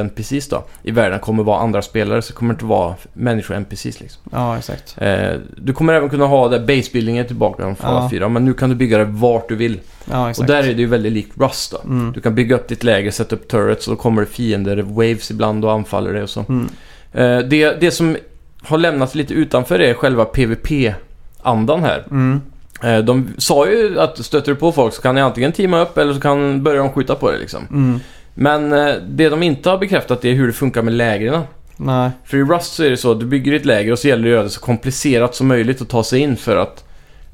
Speaker 1: Mm.
Speaker 2: NPCs då i världen kommer vara andra spelare så det kommer inte vara människor NPCs liksom.
Speaker 1: ja, exakt.
Speaker 2: Eh, du kommer även kunna ha det basebuildingen tillbaka från Fallout
Speaker 1: Ja.
Speaker 2: 4 men nu kan du bygga det vart du vill.
Speaker 1: Ja, exakt.
Speaker 2: Och där är det ju väldigt likt Rust då.
Speaker 1: Mm.
Speaker 2: Du kan bygga upp ditt läger, sätta upp turrets och då kommer det fiender, waves ibland och anfaller dig och så.
Speaker 1: Mm.
Speaker 2: Eh, det, det som har lämnats lite utanför är själva PVP-andan här.
Speaker 1: Mm.
Speaker 2: Eh, De sa ju att stöter du på folk så kan ni antingen teama upp eller så kan börja de skjuta på dig liksom.
Speaker 1: Mm.
Speaker 2: Men eh, det de inte har bekräftat är hur det funkar med lägren.
Speaker 1: Nej,
Speaker 2: För i Rust så är det så att du bygger ditt läger och så gäller det att göra det så komplicerat som möjligt att ta sig in för att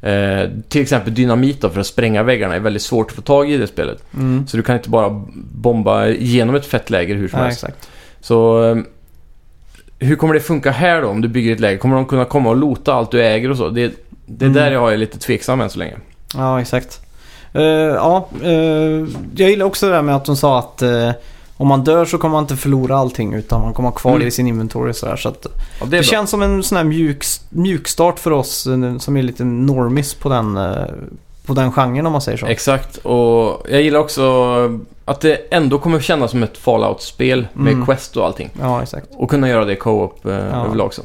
Speaker 2: eh, till exempel dynamit då, för att spränga väggarna är väldigt svårt att få tag i i det spelet.
Speaker 1: mm.
Speaker 2: Så du kan inte bara bomba igenom ett fett läger hur som
Speaker 1: Nej,
Speaker 2: helst.
Speaker 1: exakt.
Speaker 2: Så eh, hur kommer det funka här då om du bygger ett läger? Kommer de kunna komma och lota allt du äger och så? Det, Det är
Speaker 1: Mm.
Speaker 2: där jag är lite tveksam än så länge.
Speaker 1: Ja, exakt. Eh, ja, eh, jag gillar också det där med att de sa att eh, om man dör så kommer man inte förlora allting utan man kommer ha kvar
Speaker 2: Mm.
Speaker 1: det i sin inventory. Så, här, så att
Speaker 2: Ja, det
Speaker 1: det
Speaker 2: är bra.
Speaker 1: känns som en sån här mjuk, mjuk start för oss eh, som är lite normis på den, eh, på den genren om man säger så.
Speaker 2: Exakt, och jag gillar också att det ändå kommer kännas som ett Fallout-spel med
Speaker 1: Mm.
Speaker 2: quest och allting.
Speaker 1: ja, exakt.
Speaker 2: Och kunna göra det i co-op eh, överlag också.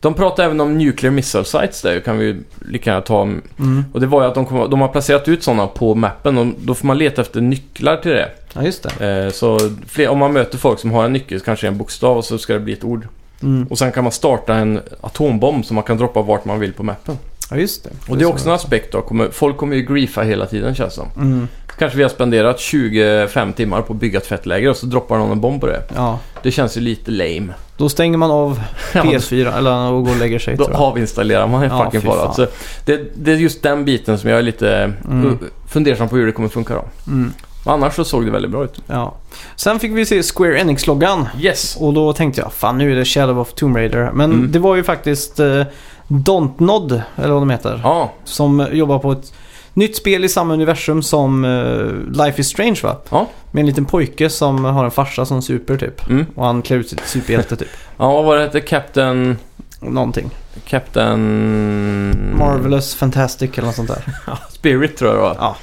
Speaker 2: De pratar även om nuclear missile sites där, kan vi ju lika gärna ta.
Speaker 1: Mm.
Speaker 2: Och det var ju att de, kom, de har placerat ut sådana på mappen och då får man leta efter nycklar till det.
Speaker 1: Ja, just det.
Speaker 2: Eh, så fler, om man möter folk som har en nyckel så kanske det är en bokstav och så ska det bli ett ord.
Speaker 1: Mm.
Speaker 2: Och sen kan man starta en atombomb som man kan droppa vart man vill på mappen.
Speaker 1: Ja, just det.
Speaker 2: Och det är också en aspekt då. Kommer, folk kommer ju griefa hela tiden känns det som.
Speaker 1: Mm.
Speaker 2: Kanske vi har spenderat 25 timmar på att bygga ett tvättläger och så droppar någon en bomb på det.
Speaker 1: Ja,
Speaker 2: Det känns ju lite lame.
Speaker 1: då stänger man av
Speaker 2: Ja,
Speaker 1: PS4 eller och går och lägger sig
Speaker 2: Då
Speaker 1: tror jag.
Speaker 2: avinstallerar man
Speaker 1: Ja,
Speaker 2: fucking
Speaker 1: fy
Speaker 2: Fallout. Så
Speaker 1: fan.
Speaker 2: det, det är just den biten som jag är lite
Speaker 1: Mm.
Speaker 2: uh, fundersam på hur det kommer funka då.
Speaker 1: Mm.
Speaker 2: Men annars så såg det väldigt bra ut.
Speaker 1: Ja. Sen fick vi se Square Enix-loggan.
Speaker 2: Yes!
Speaker 1: Och då tänkte jag, fan nu är det Shadow of Tomb Raider. Men
Speaker 2: Mm.
Speaker 1: det var ju faktiskt eh, Dontnod, eller vad de heter,
Speaker 2: Ja,
Speaker 1: som jobbar på ett nytt spel i samma universum som eh, Life is Strange va?
Speaker 2: Ja.
Speaker 1: Med en liten pojke som har en farsa som super typ.
Speaker 2: mm.
Speaker 1: Och han klär ut sig till superhjälte typ.
Speaker 2: ja vad var det hette? Captain...
Speaker 1: Någonting.
Speaker 2: Captain...
Speaker 1: Marvelous, Fantastic eller något sånt där.
Speaker 2: Spirit tror jag det var.
Speaker 1: Ja,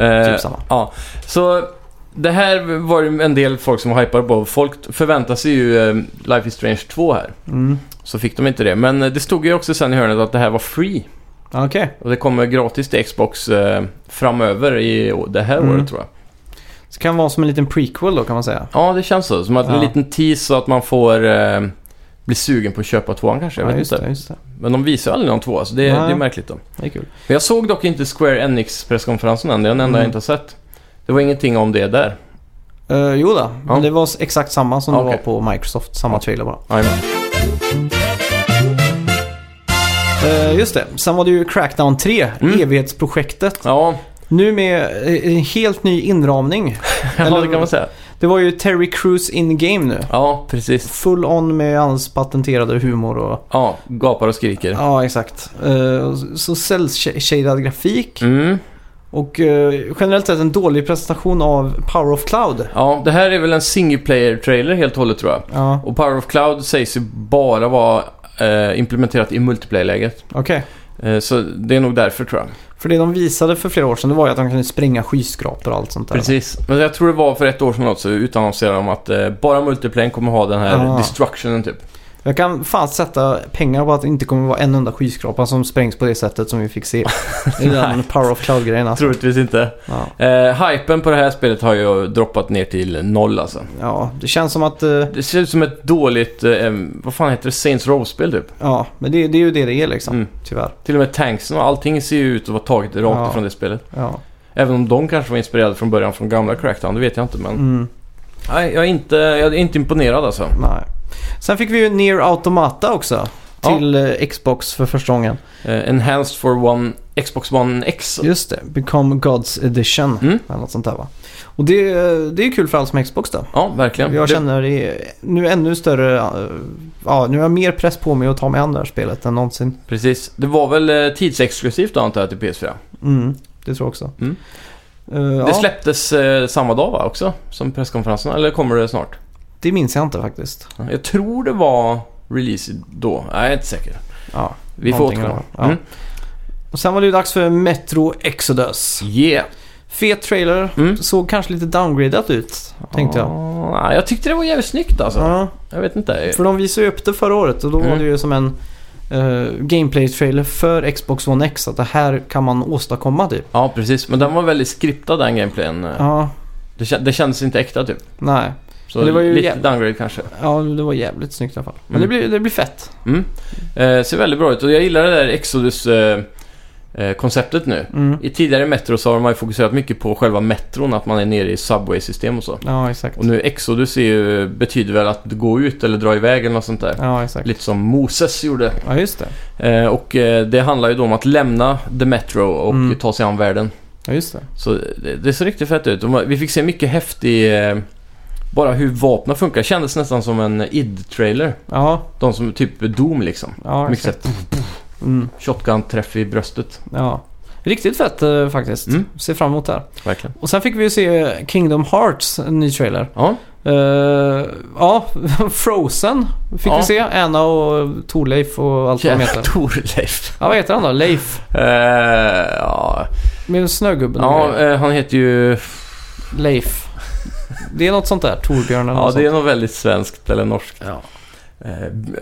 Speaker 2: Eh,
Speaker 1: typ samma.
Speaker 2: Ja, så det här var ju en del folk som hypade på. Folk förväntar sig ju eh, Life is Strange 2 här.
Speaker 1: Mm.
Speaker 2: Så fick de inte det. Men eh, det stod ju också sen i hörnet att det här var free.
Speaker 1: Ja, Okej.
Speaker 2: Och det kommer gratis till Xbox eh, framöver i å- det här
Speaker 1: Mm.
Speaker 2: året tror jag.
Speaker 1: Så det kan vara som en liten prequel då kan man säga.
Speaker 2: Ja, det känns så. Som att en
Speaker 1: Ja.
Speaker 2: liten tease så att man får eh, bli sugen på att köpa tvåan kanske. Jag
Speaker 1: ja,
Speaker 2: vet
Speaker 1: just
Speaker 2: inte.
Speaker 1: det. Just det.
Speaker 2: Men de visar ju aldrig någon tvåa så det, det
Speaker 1: Nej.
Speaker 2: är märkligt då.
Speaker 1: det är kul.
Speaker 2: Men jag såg dock inte Square Enix presskonferensen än. Det är den enda
Speaker 1: Mm.
Speaker 2: jag inte har sett. Det var ingenting om det där.
Speaker 1: Uh, jo då,
Speaker 2: Ja.
Speaker 1: men det var exakt samma som
Speaker 2: Ja,
Speaker 1: det var
Speaker 2: okej.
Speaker 1: på Microsoft. Samma
Speaker 2: Ja.
Speaker 1: trailer bara.
Speaker 2: Jajamän.
Speaker 1: Eh, just det. Sen var det ju Crackdown 3,
Speaker 2: Mm.
Speaker 1: evighetsprojektet.
Speaker 2: Ja,
Speaker 1: Nu med eh, en helt ny inramning.
Speaker 2: ja,
Speaker 1: Eller-
Speaker 2: det kan man säga.
Speaker 1: Det var ju Terry Crews in-game nu.
Speaker 2: Ja, precis.
Speaker 1: Full on med hans patenterade humor och...
Speaker 2: Ja, gapar och skriker.
Speaker 1: Ja, exakt. Eh, och så cell-shaded grafik.
Speaker 2: Mm.
Speaker 1: Och eh, generellt sett en dålig presentation av Power of Cloud.
Speaker 2: Ja, det här är väl en single player-trailer helt och hållet tror jag.
Speaker 1: Ja,
Speaker 2: Och Power of Cloud sägs ju bara vara eh, implementerat i multiplayer-läget.
Speaker 1: okej.
Speaker 2: Eh, så det är nog därför tror jag.
Speaker 1: För det de visade för flera år sedan det var ju att de kunde spränga skyskrapor och allt sånt där.
Speaker 2: Precis. Men jag tror det var för ett år sedan också utannonserade de att eh, bara multiplayer kommer ha den här
Speaker 1: Ah.
Speaker 2: destructionen typ.
Speaker 1: Jag kan fan sätta pengar på att det inte kommer vara en enda skyskrapa som sprängs på det sättet som vi fick se i den Power of Cloud-grejen. Alltså.
Speaker 2: Troligtvis inte.
Speaker 1: Ja.
Speaker 2: Eh, hypen på det här spelet har ju droppat ner till noll alltså.
Speaker 1: ja, det känns som att... eh,
Speaker 2: Det ser ut som ett dåligt, eh, vad fan heter det, Saints Row-spel typ.
Speaker 1: Ja, men det, det är ju det det är liksom,
Speaker 2: Mm.
Speaker 1: tyvärr.
Speaker 2: Till och med tanksen och allting ser ju ut att vara taget rakt
Speaker 1: Ja.
Speaker 2: ifrån det spelet.
Speaker 1: Ja.
Speaker 2: Även om de kanske var inspirerade från början från gamla Crackdown, det vet jag inte. Men
Speaker 1: Mm,
Speaker 2: nej, jag är inte, jag är inte imponerad alltså.
Speaker 1: nej. Sen fick vi ju Near Automata också.
Speaker 2: Ja.
Speaker 1: Till eh, Xbox för första gången.
Speaker 2: Eh, enhanced for one, Xbox One X.
Speaker 1: Just det, Become Gods Edition.
Speaker 2: Mm.
Speaker 1: Eller något sånt där va. Och det, eh, det är kul för alla som har Xbox då.
Speaker 2: Ja, verkligen.
Speaker 1: Jag
Speaker 2: Det-
Speaker 1: känner det är nu ännu större... eh, Ja, nu har jag mer press på mig att ta mig an det här spelet än någonsin.
Speaker 2: Precis. Det var väl eh, tidsexklusivt då antar jag till PS4?
Speaker 1: Mm, det tror jag också.
Speaker 2: Mm.
Speaker 1: Eh,
Speaker 2: Det
Speaker 1: ja,
Speaker 2: släpptes eh, samma dag va, också? Som presskonferensen, eller kommer det snart?
Speaker 1: det minns jag inte faktiskt.
Speaker 2: Jag tror det var release då. Nej, jag är inte säker.
Speaker 1: Ja.
Speaker 2: Vi får
Speaker 1: Någonting
Speaker 2: återkomma.
Speaker 1: där. Ja.
Speaker 2: Mm.
Speaker 1: Och sen var det ju dags för Metro Exodus.
Speaker 2: Yeah.
Speaker 1: Fet trailer.
Speaker 2: Mm.
Speaker 1: Såg kanske lite downgradat ut, tänkte jag.
Speaker 2: Ah, nej, jag tyckte det var jävligt snyggt alltså.
Speaker 1: Ja,
Speaker 2: Jag vet inte.
Speaker 1: för de visade ju upp det förra året och då var
Speaker 2: Mm.
Speaker 1: det ju som en eh, gameplay-trailer för Xbox One X. Att det här kan man åstadkomma typ.
Speaker 2: Ja, precis. Men den var väldigt skriptad den gameplayen.
Speaker 1: Ja,
Speaker 2: Det, kän- det kändes inte äkta typ.
Speaker 1: nej.
Speaker 2: Så
Speaker 1: Men det var ju
Speaker 2: lite
Speaker 1: jä-
Speaker 2: downgrade kanske.
Speaker 1: Ja, det var jävligt snyggt i alla fall. Men det,
Speaker 2: Mm.
Speaker 1: blir, det blir fett.
Speaker 2: Mm. Eh, ser väldigt bra ut och jag gillar det där Exodus-konceptet nu.
Speaker 1: Mm.
Speaker 2: I tidigare Metro så har man ju fokuserat mycket på själva metron, att man är nere i Subway-system och så.
Speaker 1: Ja, exakt.
Speaker 2: Och nu Exodus är ju, betyder väl att gå ut eller dra iväg eller något sånt där.
Speaker 1: Ja, exakt.
Speaker 2: Lite som Moses gjorde.
Speaker 1: Ja, just det.
Speaker 2: Eh, och eh, det handlar ju då om att lämna The Metro och
Speaker 1: Mm.
Speaker 2: ta sig an världen.
Speaker 1: Ja, just det.
Speaker 2: Så det, det ser riktigt fett ut. Och man- Vi fick se mycket häftig... Eh, bara hur vapnen funkar. Kändes nästan som en id-trailer.
Speaker 1: Ja,
Speaker 2: De som typ Doom liksom.
Speaker 1: ja
Speaker 2: mycket
Speaker 1: exakt.
Speaker 2: såhär, puff, puff,
Speaker 1: Mm,
Speaker 2: Shotgun-träff i bröstet.
Speaker 1: ja. Riktigt fett eh, faktiskt.
Speaker 2: Mm.
Speaker 1: Ser fram emot det här.
Speaker 2: Verkligen.
Speaker 1: Och sen fick vi ju se Kingdom Hearts, en ny trailer.
Speaker 2: Ja,
Speaker 1: Eh, ja, Frozen fick
Speaker 2: Ja.
Speaker 1: vi se. Anna och Torleif och allt vad de
Speaker 2: jävla
Speaker 1: heter.
Speaker 2: Torleif.
Speaker 1: Ja, vad heter han då? Leif?
Speaker 2: Eh, ja,
Speaker 1: Med snögubben och
Speaker 2: ja
Speaker 1: grejer.
Speaker 2: eh, han heter ju...
Speaker 1: Leif. Det är något sånt där. Torbjörn eller
Speaker 2: Ja,
Speaker 1: något
Speaker 2: det är
Speaker 1: sånt.
Speaker 2: nog väldigt svenskt eller norskt.
Speaker 1: Ja.
Speaker 2: Eh, b-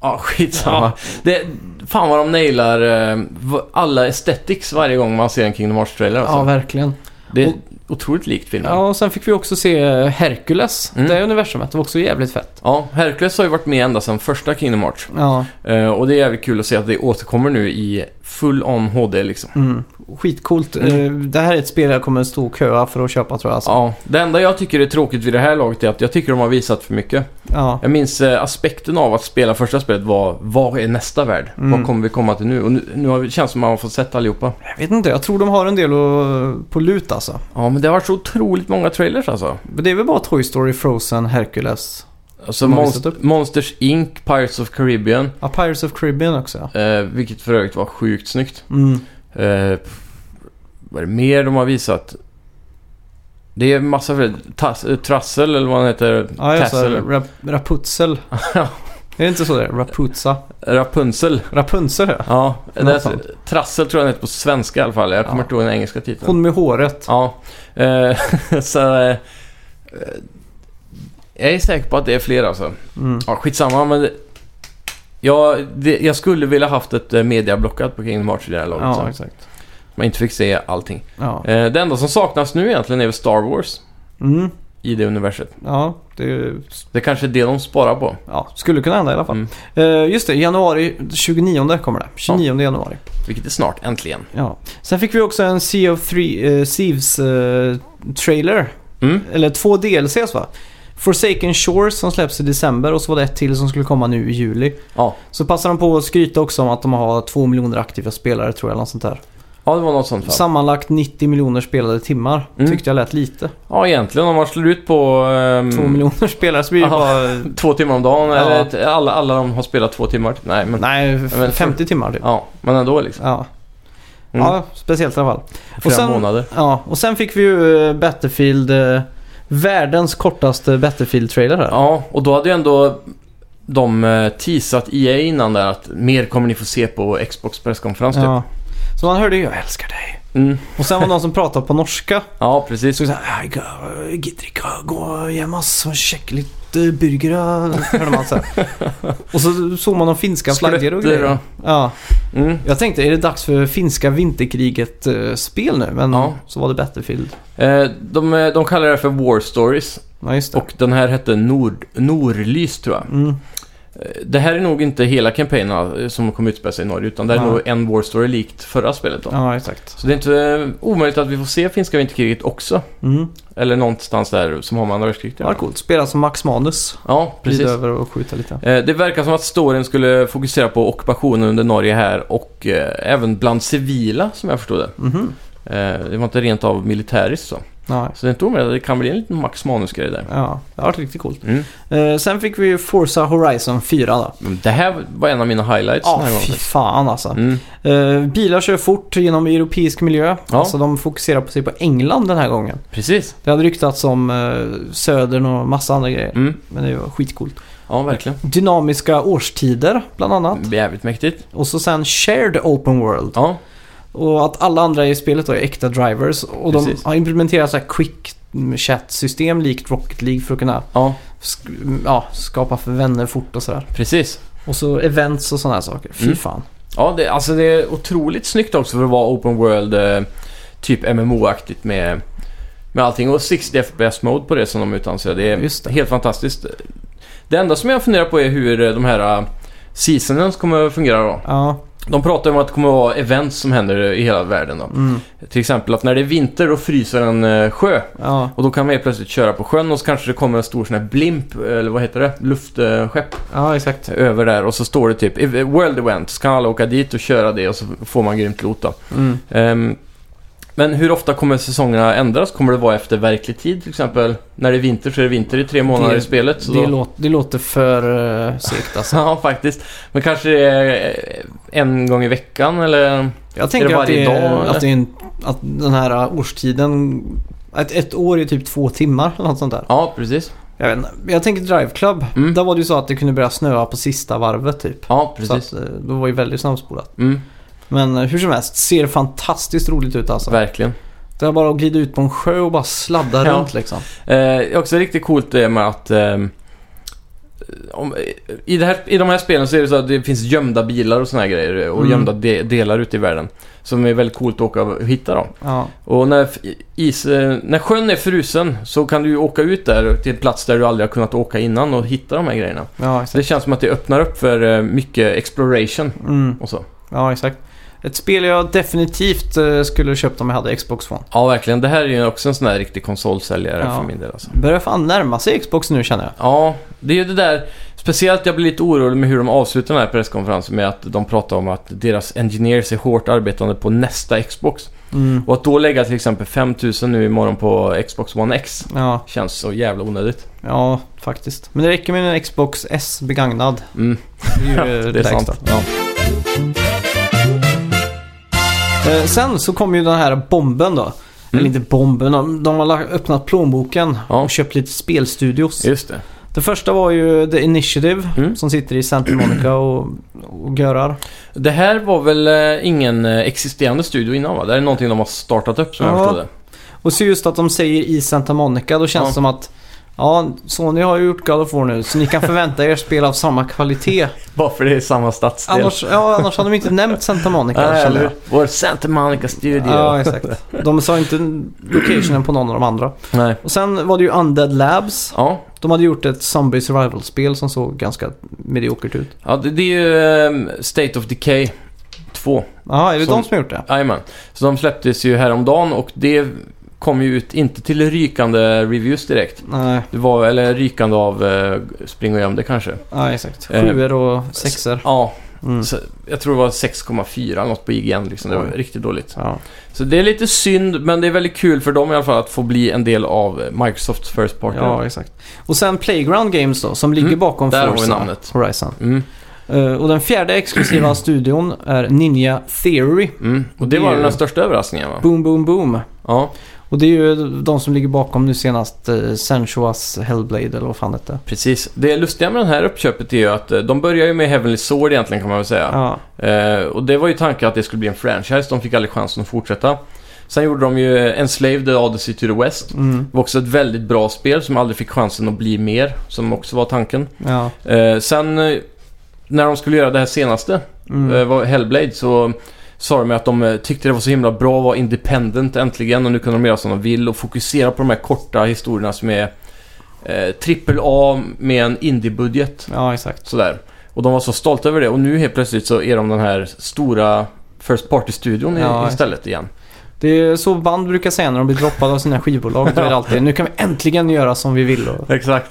Speaker 2: Ja, skitsamma. Det, fan vad de nailar eh, va- alla aesthetics varje gång man ser en Kingdom Hearts-trailer. Alltså.
Speaker 1: Ja, verkligen.
Speaker 2: det är otroligt likt filmen. Ja.
Speaker 1: Ja, och sen fick vi också se eh, Hercules.
Speaker 2: Mm.
Speaker 1: Det universumet. Det var också jävligt fett.
Speaker 2: Hercules har ju varit med ända sedan första Kingdom Hearts.
Speaker 1: Ja,
Speaker 2: Eh, och det är jävligt kul att se att det återkommer nu i full-on HD liksom.
Speaker 1: mm. skitcoolt. Eh, Det här är ett spel jag kommer stå och köa för att köpa tror jag. Alltså.
Speaker 2: Ja, det enda jag tycker är tråkigt vid det här laget är att jag tycker de har visat för mycket.
Speaker 1: Ja.
Speaker 2: Jag minns eh, aspekten av att spela första spelet var vad är nästa värld?
Speaker 1: Mm.
Speaker 2: Vad kommer vi komma till nu? Och nu, nu har vi, känns det som att man har fått sett allihopa.
Speaker 1: Jag vet inte, jag tror de har en del att- på lut alltså.
Speaker 2: Ja, men det har varit så otroligt många trailers alltså.
Speaker 1: Men det är väl bara Toy Story, Frozen, Hercules.
Speaker 2: Alltså
Speaker 1: Som har
Speaker 2: Monst-
Speaker 1: visat upp.
Speaker 2: Monsters Inc, Pirates of Caribbean,
Speaker 1: Ja, Ah, Pirates of Caribbean också ja.
Speaker 2: eh, vilket för övrigt var sjukt snyggt.
Speaker 1: Mm.
Speaker 2: Eh, pff, vad är det mer de har visat? Det är massa för, tas, eh, Trassel eller vad han heter.
Speaker 1: Ja, jag sa
Speaker 2: Tassel.
Speaker 1: Rap- Rapunzel.
Speaker 2: Ja.
Speaker 1: är det inte så det är? Raputsa.
Speaker 2: Rapunzel.
Speaker 1: Rapunzel ja.
Speaker 2: Ja,
Speaker 1: Något
Speaker 2: det,
Speaker 1: sånt.
Speaker 2: Trassel tror jag den heter på svenska i alla fall. Jag kommer
Speaker 1: Ja.
Speaker 2: inte ihåg den engelska titeln.
Speaker 1: Hon med håret.
Speaker 2: Ja, eh, så... eh, eh, Jag är säker på att det är fler alltså.
Speaker 1: Mm.
Speaker 2: Ja, skitsamma men... Det, ja, det, jag skulle vilja haft ett eh, mediablockat på Kingdom Hearts i det här laget.
Speaker 1: Ja,
Speaker 2: så.
Speaker 1: exakt.
Speaker 2: Man inte fick se allting.
Speaker 1: Ja.
Speaker 2: Eh, det enda som saknas nu egentligen är väl Star Wars
Speaker 1: Mm.
Speaker 2: i det universet.
Speaker 1: ja, det är-
Speaker 2: Det kanske är det de sparar på.
Speaker 1: ja, skulle kunna hända i alla fall.
Speaker 2: Mm.
Speaker 1: Eh, just det, januari 29 kommer det. 29 januari.
Speaker 2: Vilket är snart, äntligen.
Speaker 1: Ja. Sen fick vi också en Sea of Three, eh, Thieves eh, trailer.
Speaker 2: Mm.
Speaker 1: Eller två DLCs va? Forsaken Shores som släpps i december och så var det ett till som skulle komma nu i juli.
Speaker 2: Ja.
Speaker 1: Så passar de på att skryta också om att de har två miljoner aktiva spelare tror jag, eller något sånt där.
Speaker 2: ja, det var något sånt. Fall.
Speaker 1: Sammanlagt 90 miljoner spelade timmar.
Speaker 2: Mm.
Speaker 1: Tyckte jag lät lite.
Speaker 2: Ja, egentligen om man slår ut på... ehm,
Speaker 1: Två miljoner spelare så blir det
Speaker 2: Aha.
Speaker 1: bara...
Speaker 2: två timmar om dagen.
Speaker 1: Ja.
Speaker 2: Eller ett- alla, alla de har spelat två timmar. typ. Nej, men...
Speaker 1: Nej,
Speaker 2: men-
Speaker 1: 50 timmar typ.
Speaker 2: Ja, men ändå liksom.
Speaker 1: Ja.
Speaker 2: Mm.
Speaker 1: ja, speciellt i alla fall.
Speaker 2: Flera
Speaker 1: sen-
Speaker 2: månader.
Speaker 1: Ja, och sen fick vi ju eh, Battlefield, eh, världens kortaste Battlefield-trailer här.
Speaker 2: Ja, och då hade ju ändå de eh, teasat EA innan där att mer kommer ni få se på Xbox presskonferens typ.
Speaker 1: Ja. Så man hörde ju “Jag älskar dig”.
Speaker 2: Mm.
Speaker 1: Och sen var det någon som pratade på norska.
Speaker 2: Ja, precis.
Speaker 1: Så såhär “Jag går- gitter inte gå och gömma oss och käka lite burgare”. Hörde man så här. Och så såg man de finska flaggor och
Speaker 2: Skvätter
Speaker 1: grejer. Ja.
Speaker 2: Mm.
Speaker 1: Jag tänkte, är det dags för finska vinterkriget-spel nu? Men
Speaker 2: Ja.
Speaker 1: så var det Battlefield.
Speaker 2: Eh, de, eh, de kallar det här för War Stories
Speaker 1: Ja, just det.
Speaker 2: och den här hette Nord, Norlys tror jag.
Speaker 1: Mm.
Speaker 2: Eh, Det här är nog inte hela kampanjen eh, som kommer utspela sig i Norge utan det här är
Speaker 1: Nej.
Speaker 2: nog en War Story likt förra spelet då.
Speaker 1: Ja, exakt.
Speaker 2: Så det är inte eh, omöjligt att vi får se finska vinterkriget också.
Speaker 1: Mm.
Speaker 2: Eller någonstans där som har med andra världskriget
Speaker 1: Det var coolt. Spela som Max Manus.
Speaker 2: Ja,
Speaker 1: Precis.
Speaker 2: precis.
Speaker 1: över och skjuta lite.
Speaker 2: Eh, Det verkar som att storyn skulle fokusera på ockupationen under Norge här och eh, även bland civila som jag förstod det.
Speaker 1: Mhm.
Speaker 2: Eh, Det var inte rent av militäriskt så.
Speaker 1: Nej.
Speaker 2: Så det är inte omöjligt, det kan bli en liten Max Manus-grej där.
Speaker 1: Ja, det har varit riktigt coolt.
Speaker 2: Mm.
Speaker 1: Eh, sen fick vi ju Forza Horizon 4 då.
Speaker 2: Men Det här var en av mina highlights
Speaker 1: Ja,
Speaker 2: den här
Speaker 1: fy
Speaker 2: gången.
Speaker 1: fan alltså.
Speaker 2: Mm.
Speaker 1: Eh, bilar kör fort genom europeisk miljö.
Speaker 2: Ja.
Speaker 1: Alltså de fokuserar på sig på England den här gången.
Speaker 2: Precis.
Speaker 1: Det hade ryktats om eh, södern och massa andra grejer.
Speaker 2: Mm.
Speaker 1: Men det var skitcoolt.
Speaker 2: Ja, verkligen.
Speaker 1: Dynamiska årstider bland annat.
Speaker 2: Jävligt mäktigt.
Speaker 1: Och så sen shared open world.
Speaker 2: Ja,
Speaker 1: Och att alla andra i spelet då är äkta drivers. Och
Speaker 2: Precis.
Speaker 1: de har implementerat så här quick chat system likt Rocket League för att kunna
Speaker 2: ja
Speaker 1: sk- ja, skapa för vänner fort och sådär.
Speaker 2: precis.
Speaker 1: Och så events och sådana här saker. Fy
Speaker 2: Mm.
Speaker 1: fan.
Speaker 2: Ja, det, alltså det är otroligt snyggt också för att vara open world, eh, typ MMO-aktigt med, med allting. Och 60 FPS-mode på det som de utannonserade. Det är
Speaker 1: Just det.
Speaker 2: helt fantastiskt. Det enda som jag funderar på är hur eh, de här eh, seasonens kommer att fungera då.
Speaker 1: Ja,
Speaker 2: De pratar om att det kommer att vara events som händer i hela världen då.
Speaker 1: mm.
Speaker 2: Till exempel att när det är vinter då fryser en eh, sjö.
Speaker 1: ja,
Speaker 2: Och då kan man helt plötsligt köra på sjön och så kanske det kommer en stor sån här blimp, eh, eller vad heter det? Luftskepp
Speaker 1: ja exakt.
Speaker 2: över där och så står det typ World Event, så kan alla åka dit och köra det och så får man grymt loot då.
Speaker 1: Mm.
Speaker 2: Ehm, Men hur ofta kommer säsongerna ändras? Kommer det vara efter verklig tid till exempel? När det är vinter så är det vinter i tre månader
Speaker 1: Det-
Speaker 2: i spelet. Så
Speaker 1: Det,
Speaker 2: då...
Speaker 1: låter, det låter för eh, segt alltså.
Speaker 2: Ja, faktiskt. Men kanske det är eh, en gång i veckan eller...
Speaker 1: Jag tänker
Speaker 2: det
Speaker 1: att, det
Speaker 2: varje
Speaker 1: är,
Speaker 2: dag, eller?
Speaker 1: att, det är en, att den här eh, årstiden... Ett, ett år är typ två timmar eller något sånt där.
Speaker 2: Ja, precis.
Speaker 1: Jag, vet, inte. jag tänker Drive Club.
Speaker 2: Mm.
Speaker 1: Där var det ju så att det kunde börja snöa på sista varvet typ.
Speaker 2: Ja,
Speaker 1: Så
Speaker 2: precis.
Speaker 1: att, eh, då var ju väldigt snabbspolat.
Speaker 2: Mm,
Speaker 1: Men eh, hur som helst, ser fantastiskt roligt ut alltså.
Speaker 2: verkligen.
Speaker 1: Det är bara att glida ut på en sjö och bara sladda
Speaker 2: Ja.
Speaker 1: runt liksom.
Speaker 2: Eh, också riktigt coolt det med att... ehm, om, i, det här, I de här spelen så är det så att det finns gömda bilar och såna här grejer och
Speaker 1: Mm.
Speaker 2: gömda de, delar ute i världen. Som är väldigt coolt att åka och hitta dem.
Speaker 1: Ja.
Speaker 2: Och när, f- is, eh, när sjön är frusen så kan du ju åka ut där till en plats där du aldrig har kunnat åka innan och hitta de här grejerna.
Speaker 1: Ja,
Speaker 2: Så det
Speaker 1: exakt.
Speaker 2: känns som att det öppnar upp för eh, mycket exploration
Speaker 1: Mm.
Speaker 2: och så.
Speaker 1: ja, exakt. Ett spel jag definitivt eh, skulle köpt om jag hade Xbox One.
Speaker 2: Ja, verkligen. Det här är ju också en sån här riktig konsolsäljare
Speaker 1: Ja.
Speaker 2: för min del alltså.
Speaker 1: Börjar fan närma sig Xbox nu känner jag.
Speaker 2: Ja, det är ju det där. Speciellt jag blir lite orolig med hur de avslutar den här presskonferensen med att de pratar om att deras engineers är hårt arbetande på nästa Xbox.
Speaker 1: Mm.
Speaker 2: Och att då lägga till exempel 5000 nu imorgon på Xbox One X
Speaker 1: Ja,
Speaker 2: känns så jävla onödigt.
Speaker 1: ja, faktiskt. Men det räcker med en Xbox S begagnad.
Speaker 2: Mm.
Speaker 1: Det är ju
Speaker 2: det är
Speaker 1: lägsta.
Speaker 2: sant. Ja.
Speaker 1: Eh, sen så kom ju den här bomben då. Eller inte bomben, de, de har la- öppnat plånboken
Speaker 2: Mm. Ja.
Speaker 1: och köpt lite spelstudios.
Speaker 2: Just det.
Speaker 1: Det första var ju The Initiative
Speaker 2: Mm.
Speaker 1: som sitter i Santa Monica och, och görar.
Speaker 2: Det här var väl eh, ingen eh, existerande studio innan va? Det här är någonting de har startat upp som jag
Speaker 1: Ja.
Speaker 2: förstod det.
Speaker 1: Och så just att de säger i Santa Monica, då känns det
Speaker 2: Ja.
Speaker 1: som att Ja, Sony har ju gjort God of War nu så ni kan förvänta er spel av samma kvalitet.
Speaker 2: Bara för det är samma stadsdel.
Speaker 1: Annars, ja, annars hade de inte nämnt Santa Monica.
Speaker 2: Ja,
Speaker 1: känner
Speaker 2: eller
Speaker 1: jag.
Speaker 2: hur? Vår Santa Monica Studio.
Speaker 1: Ja, exakt. De sa inte locationen på någon av de andra.
Speaker 2: Nej.
Speaker 1: Och sen var det ju Undead Labs.
Speaker 2: Ja,
Speaker 1: De hade gjort ett zombie survival-spel som såg ganska mediokert ut.
Speaker 2: ja det, det är ju ehm, State of Decay 2.
Speaker 1: Ja, är det
Speaker 2: Som-
Speaker 1: de som har gjort det?
Speaker 2: Jajamän. Så de släpptes ju häromdagen och det kom ju ut, inte till rykande reviews direkt.
Speaker 1: Nej,
Speaker 2: Det var, eller rykande av eh, spring och göm det kanske.
Speaker 1: ja, exakt.
Speaker 2: Eh,
Speaker 1: Sjuor och sexor.
Speaker 2: Ja,
Speaker 1: Mm.
Speaker 2: så, jag tror det var 6,4 eller något på IGN liksom. Det var
Speaker 1: Oj.
Speaker 2: riktigt dåligt.
Speaker 1: Ja.
Speaker 2: Så det är lite synd, men det är väldigt kul för dem i alla fall att få bli en del av eh, Microsofts First Party.
Speaker 1: ja, exakt. Och sen Playground Games då, som ligger
Speaker 2: Mm,
Speaker 1: bakom
Speaker 2: där har vi
Speaker 1: Forza
Speaker 2: namnet.
Speaker 1: Horizon.
Speaker 2: Mm,
Speaker 1: Eh, och den fjärde exklusiva studion är Ninja Theory.
Speaker 2: mm. Och
Speaker 1: Det
Speaker 2: det
Speaker 1: är
Speaker 2: var
Speaker 1: ju-
Speaker 2: den största överraskningen va?
Speaker 1: Boom, boom, boom.
Speaker 2: Ja,
Speaker 1: Och det är ju de som ligger bakom nu senast eh, Sensuas Hellblade eller vad fan det hette.
Speaker 2: precis. Det lustiga med det här uppköpet är ju att eh, de börjar ju med Heavenly Sword egentligen kan man väl säga.
Speaker 1: Ja.
Speaker 2: Eh, och det var ju tanken att det skulle bli en franchise. De fick aldrig chansen att fortsätta. Sen gjorde de ju Enslaved The Odyssey to the West.
Speaker 1: Mm.
Speaker 2: Det var också ett väldigt bra spel som aldrig fick chansen att bli mer, som också var tanken.
Speaker 1: Ja.
Speaker 2: Eh, sen eh, när de skulle göra det här senaste,
Speaker 1: Mm.
Speaker 2: eh, var Hellblade, så sa de att de eh, tyckte det var så himla bra att vara independent äntligen och nu kunde de göra som de vill och fokusera på de här korta historierna som är eh, trippel A med en indiebudget.
Speaker 1: ja, exakt.
Speaker 2: Sådär. Och de var så stolta över det och nu helt plötsligt så är de den här stora First Party-studion i-
Speaker 1: Ja,
Speaker 2: istället igen.
Speaker 1: Det är så band brukar säga när de blir droppade av sina skivbolag. Då är det alltid nu kan vi äntligen göra som vi vill och
Speaker 2: Exakt.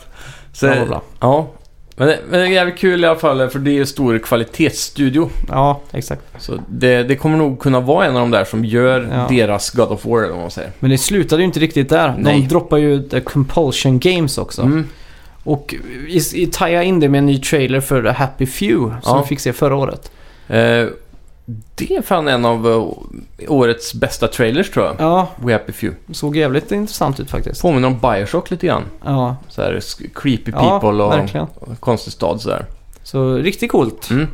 Speaker 2: Så,
Speaker 1: bla bla
Speaker 2: ja,
Speaker 1: bla.
Speaker 2: men det, men det är jävligt kul i alla fall för det är en stor kvalitetsstudio.
Speaker 1: Ja, exakt.
Speaker 2: Så det, det kommer nog kunna vara en av de där som gör
Speaker 1: Ja.
Speaker 2: deras God of War eller vad man säger.
Speaker 1: Men det slutade ju inte riktigt där.
Speaker 2: Nej.
Speaker 1: De droppar ju The Compulsion Games också.
Speaker 2: Mm.
Speaker 1: Och i, i, taja in det med en ny trailer för The Happy Few som
Speaker 2: Ja.
Speaker 1: vi fick se förra året.
Speaker 2: Eh, det är fan en av eh, årets bästa trailers tror jag.
Speaker 1: Ja,
Speaker 2: We Happy Few.
Speaker 1: såg jävligt intressant ut faktiskt.
Speaker 2: Påminner om Bioshock lite grann.
Speaker 1: Ja,
Speaker 2: Så här, sk- creepy
Speaker 1: ja
Speaker 2: people och,
Speaker 1: verkligen.
Speaker 2: och konstig stad sådär.
Speaker 1: Så riktigt coolt.
Speaker 2: Mm.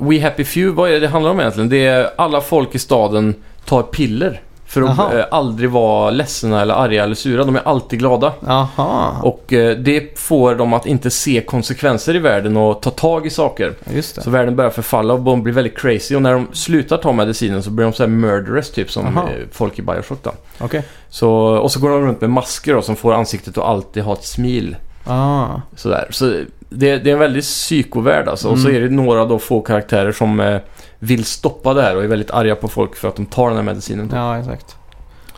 Speaker 2: We Happy Few, vad är det det handlar om egentligen? Det är alla folk i staden tar piller för att
Speaker 1: Jaha.
Speaker 2: eh, aldrig vara ledsna eller arga eller sura. De är alltid glada.
Speaker 1: Aha,
Speaker 2: Och eh, det får dem att inte se konsekvenser i världen och ta tag i saker.
Speaker 1: just det.
Speaker 2: Så världen börjar förfalla och de blir väldigt crazy. Och när de slutar ta medicinen så blir de så här murderous typ som
Speaker 1: Jaha.
Speaker 2: eh, folk i Bioshock då.
Speaker 1: Okej.
Speaker 2: Så, och så går de runt med masker då, som får ansiktet att alltid ha ett smil.
Speaker 1: Ah,
Speaker 2: Sådär. Så det, det är en väldigt psykovärld alltså. Och så
Speaker 1: Mm.
Speaker 2: är det några då få karaktärer som eh, vill stoppa det här och är väldigt arga på folk för att de tar den här medicinen.
Speaker 1: ja exakt.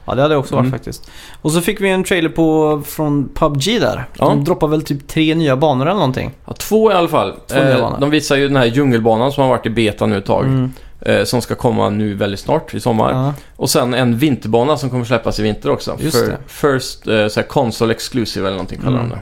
Speaker 1: Ja, det hade jag också varit
Speaker 2: Mm.
Speaker 1: faktiskt. Och så fick vi en trailer på, från PubG där. De
Speaker 2: Ja.
Speaker 1: droppar väl typ tre nya banor eller någonting.
Speaker 2: Ja, två i alla fall. Eh,
Speaker 1: Två nya banor.
Speaker 2: de visar ju den här djungelbanan som har varit i beta nu ett tag.
Speaker 1: Mm.
Speaker 2: eh, som ska komma nu väldigt snart i sommar.
Speaker 1: Ja.
Speaker 2: Och sen en vinterbana som kommer släppas i vinter också.
Speaker 1: Just
Speaker 2: Fir-
Speaker 1: det.
Speaker 2: First eh, så här Console Exclusive eller någonting kallar
Speaker 1: Mm.
Speaker 2: de det.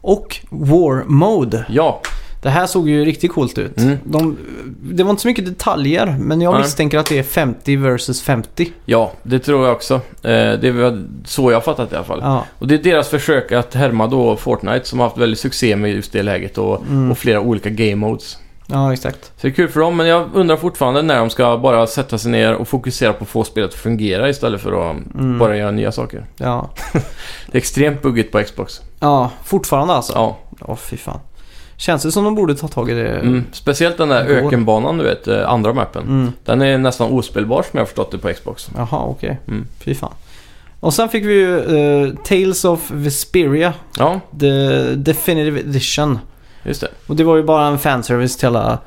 Speaker 1: Och War Mode.
Speaker 2: Ja,
Speaker 1: Det här såg ju riktigt coolt ut.
Speaker 2: Mm.
Speaker 1: De, det var inte så mycket detaljer, men jag
Speaker 2: Nej.
Speaker 1: misstänker att det är 50 versus 50.
Speaker 2: ja, det tror jag också. Eh, det är väl så jag har fattat det i alla fall.
Speaker 1: Ja.
Speaker 2: Och det är deras försök att härma då Fortnite som har haft väldigt succé med just det läget och,
Speaker 1: Mm.
Speaker 2: och flera olika game modes.
Speaker 1: ja, exakt.
Speaker 2: Så det är kul för dem, men jag undrar fortfarande när de ska bara sätta sig ner och fokusera på att få spelet att fungera istället för att
Speaker 1: Mm.
Speaker 2: bara göra nya saker.
Speaker 1: Ja.
Speaker 2: Det är extremt buggigt på Xbox.
Speaker 1: ja, fortfarande alltså. Ja,
Speaker 2: Ja,
Speaker 1: fy fan. Känns det som de borde ta tag i det?
Speaker 2: mm. Speciellt den där
Speaker 1: Går.
Speaker 2: ökenbanan du vet, eh, andra mappen.
Speaker 1: Mm.
Speaker 2: Den är nästan ospelbar som jag har förstått det på Xbox.
Speaker 1: Jaha, okej.
Speaker 2: Mm.
Speaker 1: Fy fan. Och sen fick vi ju eh, Tales of Vesperia,
Speaker 2: Ja,
Speaker 1: The Definitive Edition.
Speaker 2: just det.
Speaker 1: Och det var ju bara en fanservice till alla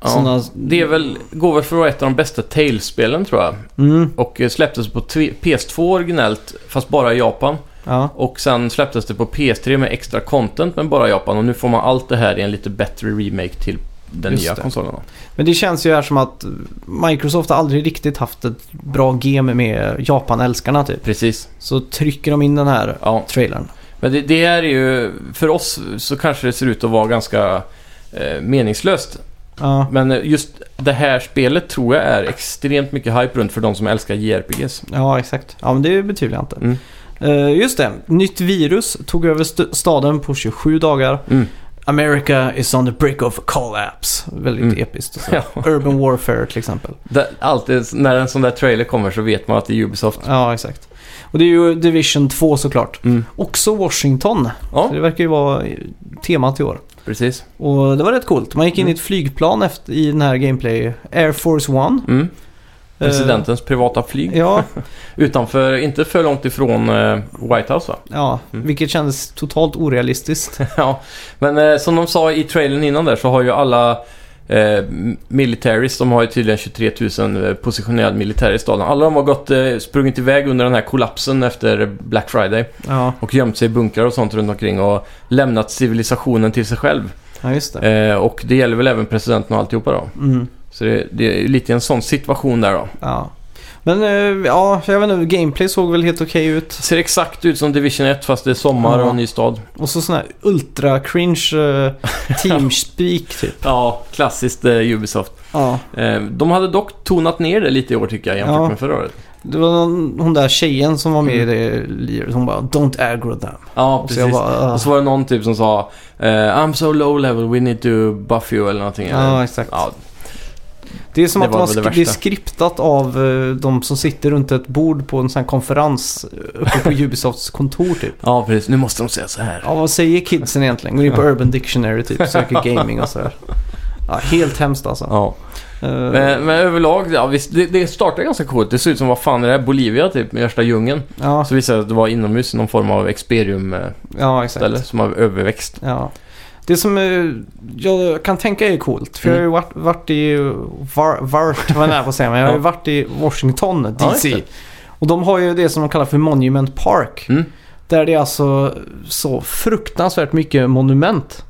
Speaker 2: Ja.
Speaker 1: sådana...
Speaker 2: Det är väl, går väl för att vara ett av de bästa Tales-spelen tror jag.
Speaker 1: Mm,
Speaker 2: Och eh, släpptes på tv- PS2 originellt, fast bara i Japan.
Speaker 1: ja.
Speaker 2: Och sen släpptes det på PS3 med extra content men bara i Japan. Och nu får man allt det här i en lite bättre remake till den
Speaker 1: Just
Speaker 2: nya
Speaker 1: det.
Speaker 2: konsolen. då.
Speaker 1: Men det känns ju här som att Microsoft har aldrig riktigt haft ett bra game med Japan-älskarna typ.
Speaker 2: Precis.
Speaker 1: Så trycker de in den här
Speaker 2: Ja.
Speaker 1: trailern.
Speaker 2: Men det, det här är ju... För oss så kanske det ser ut att vara ganska eh, meningslöst.
Speaker 1: Ja,
Speaker 2: Men eh, just det här spelet tror jag är extremt mycket hype runt för de som älskar JRPGs.
Speaker 1: ja exakt. Ja, men det betvivlar jag inte.
Speaker 2: Mm.
Speaker 1: Eh, just det, nytt virus tog över st- staden på 27 dagar.
Speaker 2: Mm.
Speaker 1: America is on the brink of collapse. Väldigt
Speaker 2: Mm.
Speaker 1: episkt. och Så.
Speaker 2: Ja.
Speaker 1: Urban Warfare till exempel.
Speaker 2: Det, alltid när en sån där trailer kommer så vet man att det är Ubisoft.
Speaker 1: Ja, exakt. Och det är ju Division 2 såklart.
Speaker 2: Mm.
Speaker 1: Också Washington. Så
Speaker 2: Ja,
Speaker 1: det verkar ju vara eh, temat i år.
Speaker 2: precis.
Speaker 1: Och det var rätt coolt. Man gick in
Speaker 2: Mm.
Speaker 1: i ett flygplan efter, i den här gameplay, Air Force One.
Speaker 2: Mm. Presidentens privata flyg.
Speaker 1: Eh, ja,
Speaker 2: Utanför, inte för långt ifrån eh, White House va?
Speaker 1: ja
Speaker 2: Mm.
Speaker 1: vilket kändes totalt orealistiskt.
Speaker 2: Ja, men eh, som de sa i trailern innan där så har ju alla eh, militaries, de har ju tydligen 23 000 eh, positionerad militär i staden. Alla de har gått, eh, sprungit iväg under den här kollapsen efter Black Friday
Speaker 1: Ja,
Speaker 2: och gömt sig i bunkrar och sånt runt omkring och lämnat civilisationen till sig själv.
Speaker 1: ja just det.
Speaker 2: Eh, och det gäller väl även presidenten och alltihopa då.
Speaker 1: Mm,
Speaker 2: Så det, det är lite en sån situation där då.
Speaker 1: ja. Men eh, ja, jag vet inte, gameplay såg väl helt okej ut.
Speaker 2: Det ser exakt ut som Division 1 fast det är sommar och en ny stad.
Speaker 1: Och så sån här ultra-cringe uh, teamspeak typ.
Speaker 2: Ja, klassiskt eh, Ubisoft.
Speaker 1: Ja.
Speaker 2: Eh, de hade dock tonat ner det lite i år tycker jag jämfört
Speaker 1: Ja.
Speaker 2: med förra året.
Speaker 1: Det var någon, hon där tjejen som var med i det liret. Hon bara “Don't aggro them”.
Speaker 2: Ja,
Speaker 1: Och så
Speaker 2: Mm. precis.
Speaker 1: jag bara, "Ah."
Speaker 2: Och så var det någon typ som sa eh, I'm so low level, we need to buff you eller någonting.
Speaker 1: Ja, exakt.
Speaker 2: Ja,
Speaker 1: Det är som
Speaker 2: Det
Speaker 1: att
Speaker 2: var
Speaker 1: man
Speaker 2: väl
Speaker 1: sk-
Speaker 2: det
Speaker 1: det, är
Speaker 2: värsta.
Speaker 1: skriptat av eh, de som sitter runt ett bord på en sån här konferens eh, uppe på Ubisofts kontor typ.
Speaker 2: ja, precis. Nu måste de säga så här.
Speaker 1: Ja, vad säger kidsen egentligen? Går in på Urban Dictionary typ, söker gaming och sådär. Ja, helt hemskt alltså.
Speaker 2: Ja.
Speaker 1: Eh,
Speaker 2: Men, men överlag, ja, visst, det, det startar ganska coolt. Det ser ut som vad fan är det här? Bolivia typ, med värsta djungeln.
Speaker 1: ja,
Speaker 2: Så visade det sig att det var inomhus i någon form av experium-ställe
Speaker 1: ja, exakt.
Speaker 2: som har överväxt.
Speaker 1: Ja. Det som eh, jag kan tänka är coolt, för jag har ju varit, varit i... Var, vart, vad är det på att säga, men jag har ju
Speaker 2: Mm. Ja.
Speaker 1: varit i Washington
Speaker 2: Ja, just
Speaker 1: DC.
Speaker 2: det.
Speaker 1: och de har ju det som de kallar för Monument Park.
Speaker 2: Mm.
Speaker 1: Där det är alltså så fruktansvärt mycket monument.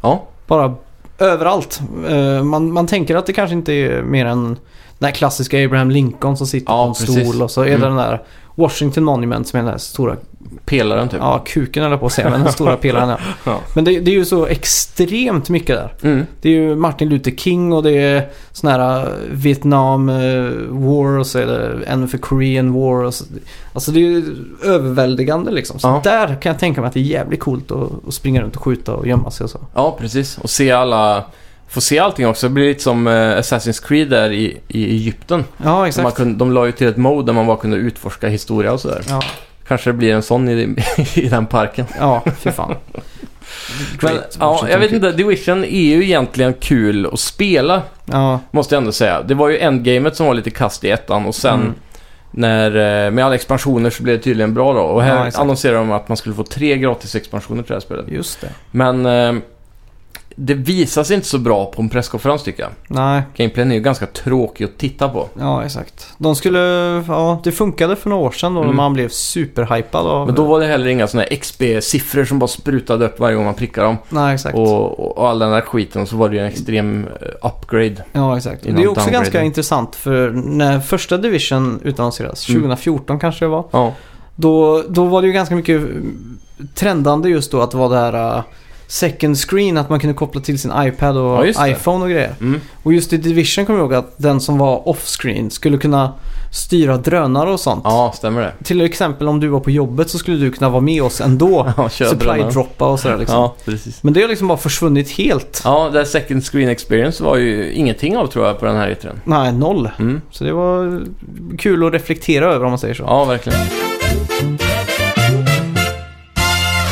Speaker 2: Ja.
Speaker 1: Bara överallt. Eh, Man, man tänker att det kanske inte är mer än den här klassiska Abraham Lincoln som sitter
Speaker 2: Ja,
Speaker 1: på en
Speaker 2: precis.
Speaker 1: stol och så är det
Speaker 2: Mm.
Speaker 1: den där Washington Monument som är den där stora
Speaker 2: Pelaren typ.
Speaker 1: Ja, kuken eller på att säga, men den stora pelaren ja.
Speaker 2: Ja.
Speaker 1: Men det, det är ju så extremt mycket där.
Speaker 2: Mm.
Speaker 1: Det är ju Martin Luther King och det är sån här eh, Vietnam eh, War och så är det en för Korean War. Och så. Alltså det är ju överväldigande liksom. Så
Speaker 2: Ja.
Speaker 1: där kan jag tänka mig att det är jävligt coolt att, att springa runt och skjuta och gömma sig och så.
Speaker 2: Ja, precis. Och se alla... Få se allting också. Det blir lite som eh, Assassin's Creed där i, i Egypten.
Speaker 1: Ja,
Speaker 2: Man
Speaker 1: exakt.
Speaker 2: kunde, de la ju till ett mode där man bara kunde utforska historia och sådär.
Speaker 1: Ja,
Speaker 2: Kanske det blir en sån i, i den parken.
Speaker 1: ja fy fan.
Speaker 2: Men,
Speaker 1: Great
Speaker 2: ja, jag
Speaker 1: Washington
Speaker 2: vet inte, Division är ju egentligen kul att spela,
Speaker 1: Ja,
Speaker 2: måste jag ändå säga. Det var ju endgamet som var lite kast i ettan och sen
Speaker 1: Mm.
Speaker 2: när, eh, med alla expansioner så blev det tydligen bra då. Och
Speaker 1: Ja,
Speaker 2: här
Speaker 1: exakt.
Speaker 2: annonserade de att man skulle få tre gratis expansioner till det här spelet.
Speaker 1: just det.
Speaker 2: Men eh, det visas inte så bra på en presskonferens tycker jag.
Speaker 1: Nej,
Speaker 2: Gameplayen är ju ganska tråkig att titta på.
Speaker 1: ja exakt. De skulle, ja det funkade för några år sedan då
Speaker 2: Mm.
Speaker 1: när man blev superhypad av...
Speaker 2: Men då var det heller inga sådana här XP-siffror som bara sprutade upp varje gång man prickade dem.
Speaker 1: Nej exakt.
Speaker 2: Och, och, all den där skiten. Och så var det ju en extrem eh, upgrade.
Speaker 1: Ja, exakt. Det
Speaker 2: Innan
Speaker 1: är också
Speaker 2: downgraden.
Speaker 1: ganska intressant för när första Division utannonserades,
Speaker 2: Mm.
Speaker 1: 2014 kanske det var,
Speaker 2: Ja.
Speaker 1: då, då var det ju ganska mycket eh, trendande just då att det var det här eh, second screen, att man kunde koppla till sin iPad
Speaker 2: Ja,
Speaker 1: och
Speaker 2: just det.
Speaker 1: iPhone och grejer.
Speaker 2: Mm.
Speaker 1: Och just i Division kommer jag ihåg att den som var off-screen skulle kunna styra drönare och sånt.
Speaker 2: ja, stämmer det.
Speaker 1: Till exempel om du var på jobbet så skulle du kunna vara med oss ändå.
Speaker 2: Ja, kör drönaren.
Speaker 1: Supply-droppa och sådär liksom.
Speaker 2: Ja, precis.
Speaker 1: Men det har liksom bara försvunnit helt.
Speaker 2: Ja, det här second screen experience var ju ingenting av tror jag på den här E3.
Speaker 1: Nej, noll.
Speaker 2: Mm.
Speaker 1: Så det var kul att reflektera över om man säger så.
Speaker 2: Ja, verkligen.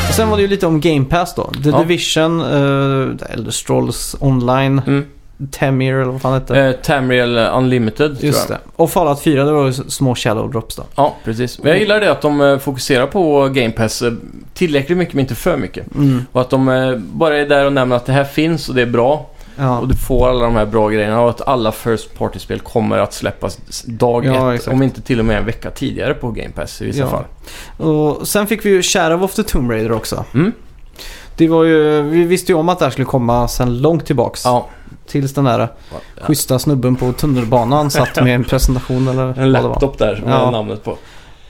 Speaker 1: Och sen var det ju lite om Game Pass då. The
Speaker 2: Ja.
Speaker 1: Division, eh, Elder Strolls Online,
Speaker 2: Mm.
Speaker 1: Temir eller vad fan hette.
Speaker 2: Eh, Tamriel Unlimited tror
Speaker 1: Just
Speaker 2: jag.
Speaker 1: det. Och Fallout 4, det var ju s- små shadow drops då.
Speaker 2: Ja, precis. Men jag gillar det att de eh, fokuserar på Game Pass eh, tillräckligt mycket men inte för mycket.
Speaker 1: Mm.
Speaker 2: Och att de eh, bara är där och nämner att det här finns och det är bra.
Speaker 1: Ja.
Speaker 2: Och du får alla de här bra grejerna och att alla First Party-spel kommer att släppas s- dag
Speaker 1: Ja,
Speaker 2: ett.
Speaker 1: exakt.
Speaker 2: Om inte till och med en vecka tidigare på Game Pass i vissa
Speaker 1: Ja.
Speaker 2: fall.
Speaker 1: Och sen fick vi ju Shadow of the Tomb Raider också.
Speaker 2: Mm.
Speaker 1: Det var ju, vi visste ju om att det här skulle komma sen långt tillbaks.
Speaker 2: Ja.
Speaker 1: Tills den där
Speaker 2: Ja.
Speaker 1: schyssta snubben på tunnelbanan satt med en presentation eller
Speaker 2: En
Speaker 1: vad det var.
Speaker 2: laptop där med
Speaker 1: Ja.
Speaker 2: namnet på.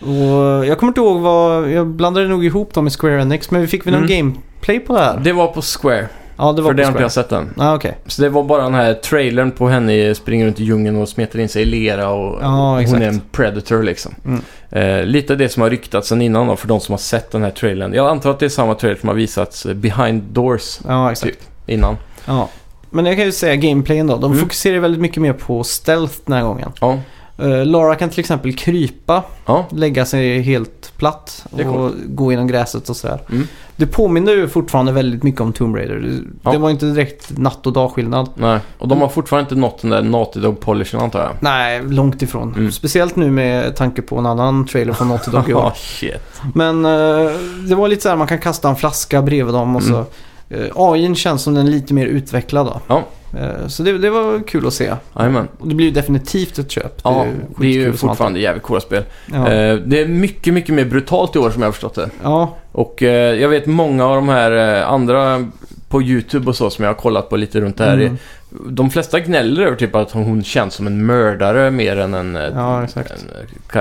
Speaker 1: Och jag kommer inte ihåg vad, jag blandade nog ihop dem med Square Enix men vi fick väl någon
Speaker 2: Mm.
Speaker 1: gameplay på det här?
Speaker 2: Det var på Square.
Speaker 1: ja, det var på
Speaker 2: för det har inte
Speaker 1: Square.
Speaker 2: jag sett än.
Speaker 1: Ja, ah, okej.
Speaker 2: Så det var bara den här trailern på henne springer runt i djungeln och smetar in sig i lera och
Speaker 1: Ja,
Speaker 2: hon
Speaker 1: exakt.
Speaker 2: är en predator liksom.
Speaker 1: Mm.
Speaker 2: Eh, lite av det som har ryktats sen innan då för de som har sett den här trailern. Jag antar att det är samma trailer som har visats eh, behind doors
Speaker 1: Ja, exakt.
Speaker 2: innan.
Speaker 1: Ja. Men jag kan ju säga gameplayen då. De
Speaker 2: Typ. Mm.
Speaker 1: fokuserar väldigt mycket mer på stealth den här gången.
Speaker 2: Ja,
Speaker 1: Eh, Lara kan till exempel krypa,
Speaker 2: ja.
Speaker 1: lägga sig helt platt
Speaker 2: Det är
Speaker 1: och gå genom gräset och sådär.
Speaker 2: Mm.
Speaker 1: Det påminner ju fortfarande väldigt mycket om Tomb Raider. Det,
Speaker 2: Ja.
Speaker 1: det var inte direkt natt och dagskillnad.
Speaker 2: Nej. Och de har fortfarande inte nått den där Naughty Dog polishen antar jag.
Speaker 1: Nej, långt ifrån.
Speaker 2: Mm.
Speaker 1: Speciellt nu med tanke på en annan trailer från Naughty Dog i år.
Speaker 2: Ja, shit.
Speaker 1: Men eh, det var lite så här, man kan kasta en flaska bredvid dem och så. Eh, AIn känns som den är lite mer utvecklad då.
Speaker 2: Mm. Ja.
Speaker 1: Eh, så det, det var kul att se.
Speaker 2: Jajamän.
Speaker 1: Och det blir ju definitivt ett köp.
Speaker 2: Ja, det är ju
Speaker 1: skitkul som alltid.
Speaker 2: fortfarande jävligt coola spel.
Speaker 1: Ja.
Speaker 2: Eh, det är mycket, mycket mer brutalt i år som jag har förstått det.
Speaker 1: ja,
Speaker 2: Och eh, jag vet många av de här eh, andra på YouTube och så som jag har kollat på lite runt det här.
Speaker 1: Mm.
Speaker 2: De flesta gnäller över typ att hon känns som en mördare mer än en, eh,
Speaker 1: Ja, exakt.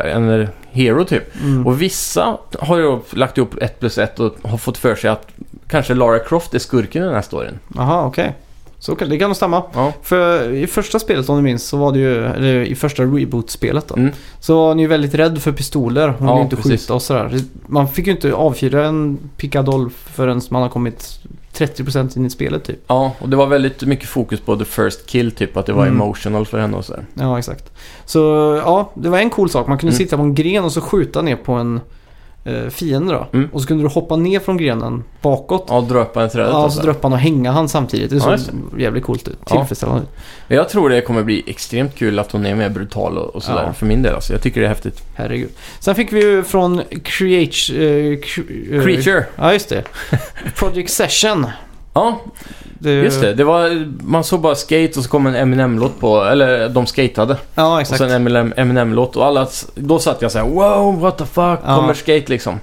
Speaker 2: en, en hero typ.
Speaker 1: mm.
Speaker 2: Och vissa har ju lagt ihop ett plus ett och har fått för sig att kanske Lara Croft är skurken i den här storyn.
Speaker 1: Aha, okej. Så kan, det kan nog stämma.
Speaker 2: Ja.
Speaker 1: För i första spelet om du minns så var det ju, eller i första reboot-spelet då.
Speaker 2: Mm.
Speaker 1: Så var hon ju väldigt rädd för pistoler. Hon
Speaker 2: Ja,
Speaker 1: ville inte
Speaker 2: precis.
Speaker 1: skjuta och sådär. Man fick ju inte avfyra en pickadoll förrän man har kommit 30% in i spelet typ.
Speaker 2: ja, och det var väldigt mycket fokus på the first kill typ, att det var
Speaker 1: Mm.
Speaker 2: emotional för henne och sådär.
Speaker 1: Ja, exakt. Så ja, det var en cool sak. Man kunde
Speaker 2: Mm.
Speaker 1: sitta på en gren och så skjuta ner på en eh, fiende då.
Speaker 2: Mm.
Speaker 1: Och så kunde du hoppa ner från grenen bakåt.
Speaker 2: Ja, dra upp henne i trädet
Speaker 1: Ja,
Speaker 2: och
Speaker 1: så
Speaker 2: sådär.
Speaker 1: dröp han och hänga han samtidigt. Det
Speaker 2: Ja,
Speaker 1: såg
Speaker 2: just
Speaker 1: jävligt coolt ut.
Speaker 2: Ja.
Speaker 1: Tillfredsställande ut.
Speaker 2: Men Jag tror det kommer bli extremt kul att hon är mer brutal och, och sådär
Speaker 1: Ja.
Speaker 2: för min del. Alltså, jag tycker det är häftigt.
Speaker 1: Herregud. Sen fick vi ju från Create... eh, cre- eh,
Speaker 2: Creature!
Speaker 1: Ja, just det. Project Session.
Speaker 2: Ja,
Speaker 1: Det,
Speaker 2: Just det, det var, man såg bara skate och så kom en Eminem-låt på, eller de skatade.
Speaker 1: Ja,
Speaker 2: Och
Speaker 1: exakt.
Speaker 2: sen Eminem- Eminem-låt och alla, då satt jag så här: wow, what the fuck,
Speaker 1: Ja.
Speaker 2: kommer skate liksom.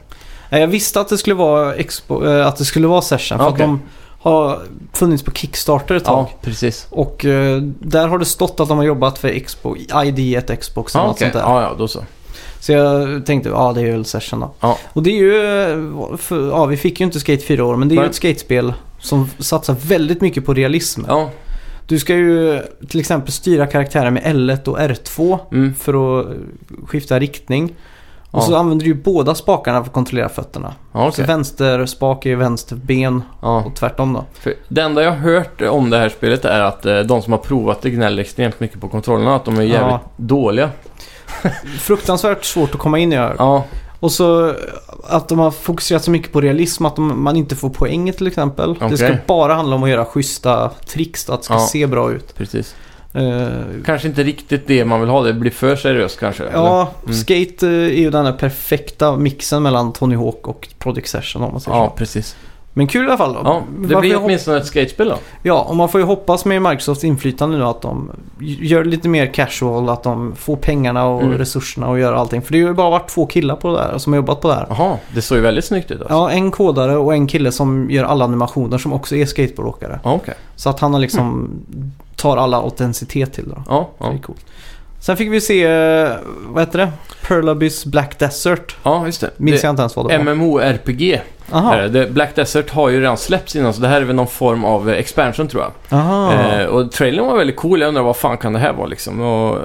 Speaker 1: Ja, Jag visste att det skulle vara, expo, eh, att det skulle vara Session. För
Speaker 2: Ja, okej.
Speaker 1: att de har funnits på Kickstarter ett tag.
Speaker 2: Ja, precis.
Speaker 1: Och eh, där har det stått att de har jobbat för Expo, ID1 Xbox eller
Speaker 2: Ja,
Speaker 1: något
Speaker 2: Ah, okej.
Speaker 1: sånt där.
Speaker 2: ja, ja, då så.
Speaker 1: Så jag tänkte, ja det är ju Session då.
Speaker 2: Ja.
Speaker 1: Och det är ju, eh, för, ja vi fick ju inte Skate 4 år men det är ju
Speaker 2: Nej.
Speaker 1: ett skatespel som satsar väldigt mycket på realism.
Speaker 2: Ja,
Speaker 1: Du ska ju eh, till exempel styra karaktären med L1 och R2
Speaker 2: mm.
Speaker 1: för att eh, skifta riktning. Och
Speaker 2: Ja.
Speaker 1: så använder du ju båda spakarna för att kontrollera fötterna.
Speaker 2: ja
Speaker 1: Så
Speaker 2: okej.
Speaker 1: vänster spak är vänster ben
Speaker 2: Ja.
Speaker 1: och tvärtom då.
Speaker 2: För Det enda jag har hört om det här spelet är att eh, de som har provat det gnäller extremt mycket på kontrollerna, att de är jävligt
Speaker 1: Ja.
Speaker 2: dåliga.
Speaker 1: Fruktansvärt svårt att komma in i ögat.
Speaker 2: Ja,
Speaker 1: Och så att de har fokuserat så mycket på realism att de, man inte får poäng till exempel. Det
Speaker 2: Okej.
Speaker 1: ska bara handla om att göra schyssta tricks, att det ska
Speaker 2: Ja.
Speaker 1: se bra ut.
Speaker 2: precis.
Speaker 1: Eh,
Speaker 2: Kanske inte riktigt det man vill ha, det blir för seriöst kanske. eller?
Speaker 1: ja,
Speaker 2: Mm.
Speaker 1: Skate eh, är ju den här perfekta mixen mellan Tony Hawk och Project Session om man säger
Speaker 2: ja precis.
Speaker 1: så. Men kul i alla fall då.
Speaker 2: Ja, det
Speaker 1: Varför
Speaker 2: blir
Speaker 1: jag hop-
Speaker 2: åtminstone ett skatespel då.
Speaker 1: Ja, och man får ju hoppas med Microsofts inflytande nu att de gör lite mer casual, att de får pengarna och
Speaker 2: Mm.
Speaker 1: resurserna och gör allting. För det har ju bara varit två killar på det där som har jobbat på det här.
Speaker 2: Jaha, det såg ju väldigt snyggt ut alltså.
Speaker 1: Ja, en kodare och en kille som gör alla animationer som också är skateboardåkare.
Speaker 2: Ja, okej.
Speaker 1: Så att han har liksom tar alla autenticitet till då.
Speaker 2: Ja,
Speaker 1: Så Det
Speaker 2: Mm. ja.
Speaker 1: är coolt. Sen fick vi se, eh, vad heter det? Perlabys Black Desert.
Speaker 2: ja, just det.
Speaker 1: Minns
Speaker 2: det
Speaker 1: jag inte ens vad det var.
Speaker 2: MMORPG.
Speaker 1: Aha,
Speaker 2: är det. Det- Black Desert har ju redan släppts innan, så det här är väl någon form av eh, expansion tror jag.
Speaker 1: aha.
Speaker 2: Eh, och trailern var väldigt cool. Jag undrar vad fan kan det här vara liksom. Och eh,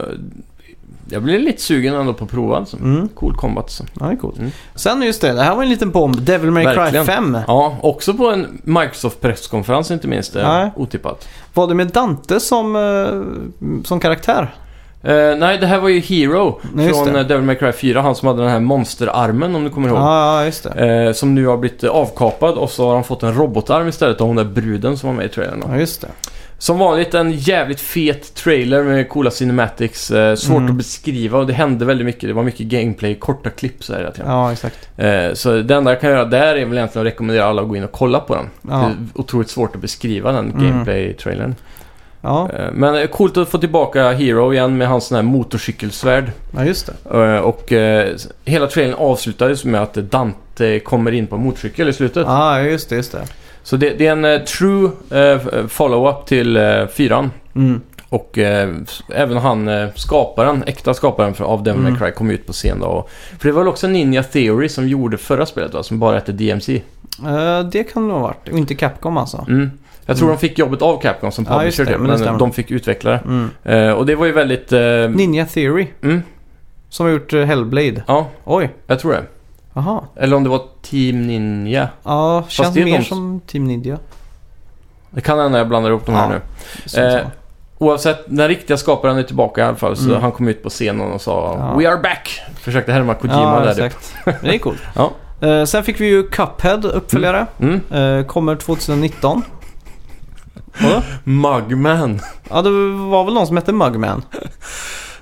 Speaker 2: jag blev lite sugen ändå på att prova alltså.
Speaker 1: Mm,
Speaker 2: Cool combat alltså.
Speaker 1: ja, det är coolt.
Speaker 2: Mm.
Speaker 1: Sen just det, det här var en liten bomb. Devil May Cry
Speaker 2: Verkligen.
Speaker 1: 5.
Speaker 2: Ja, också på en Microsoft-presskonferens inte minst. eh,
Speaker 1: Nej.
Speaker 2: Otippat.
Speaker 1: Var det med Dante som, eh, som karaktär?
Speaker 2: Eh, nej, det här var ju Hero
Speaker 1: Nej, just
Speaker 2: från
Speaker 1: det.
Speaker 2: eh, Devil May Cry 4. Han som hade den här monsterarmen om du kommer ihåg.
Speaker 1: Ja, ja, just det.
Speaker 2: Eh, som nu har blivit eh, avkapad och så har han fått en robotarm istället av hon där bruden som var med i trailern. då.
Speaker 1: Ja, just det.
Speaker 2: Som vanligt en jävligt fet trailer med coola cinematics. Eh, svårt
Speaker 1: Mm.
Speaker 2: att beskriva och det hände väldigt mycket. Det var mycket gameplay, korta klipp så här hela tiden.
Speaker 1: Ja, exakt.
Speaker 2: Eh, så det enda jag kan göra där är väl egentligen att rekommendera alla att gå in och kolla på den.
Speaker 1: Ja.
Speaker 2: Det är otroligt svårt att beskriva den
Speaker 1: Mm.
Speaker 2: gameplay-trailern.
Speaker 1: Ja,
Speaker 2: Eh, men eh, coolt att få tillbaka Hero igen med hans sån här motorcykelsvärd.
Speaker 1: ja just det.
Speaker 2: Eh, och eh, s- hela trailern avslutades med att Dante kommer in på en motorcykel i slutet.
Speaker 1: Ja, just det, just det. Så
Speaker 2: Så det, det är en eh, true eh, follow-up till eh, fyran.
Speaker 1: mm.
Speaker 2: Och eh, s- även han, eh, skaparen, äkta skaparen för, av Devil May
Speaker 1: Mm.
Speaker 2: Cry kom ut på scen då. Och, för det var väl också Ninja Theory som gjorde förra spelet va, som bara hette DMC.
Speaker 1: Eh, det kan det ha varit. Och inte Capcom alltså.
Speaker 2: Mm. Jag tror
Speaker 1: Mm.
Speaker 2: de fick jobbet av Capcom som
Speaker 1: Ja, just det,
Speaker 2: publisher typ,
Speaker 1: men det
Speaker 2: men
Speaker 1: stämmer.
Speaker 2: de fick utveckla det.
Speaker 1: Mm.
Speaker 2: Eh, och det var ju väldigt... Eh,
Speaker 1: Ninja Theory,
Speaker 2: mm,
Speaker 1: som har gjort eh, Hellblade.
Speaker 2: ja,
Speaker 1: Oj,
Speaker 2: jag tror det.
Speaker 1: aha.
Speaker 2: Eller om det var Team Ninja.
Speaker 1: Ja, känns
Speaker 2: det är Eh,
Speaker 1: mer
Speaker 2: de-
Speaker 1: som Team Ninja.
Speaker 2: Det kan hända jag blandar ihop de här
Speaker 1: Ja.
Speaker 2: nu.
Speaker 1: Så-
Speaker 2: Eh, Oavsett, den riktiga skaparen är tillbaka i alla fall. Så
Speaker 1: Mm.
Speaker 2: han kom ut på scenen och sa
Speaker 1: Ja.
Speaker 2: “We are back!” Försökte härma Kojima
Speaker 1: ja,
Speaker 2: där. typ.
Speaker 1: exakt. Men det är coolt.
Speaker 2: Ja.
Speaker 1: Eh, sen fick vi ju Cuphead, uppföljare.
Speaker 2: Mm.
Speaker 1: Eh, kommer 2019. Vadå?
Speaker 2: Mugman.
Speaker 1: Ja, det var väl någon som hette Mugman.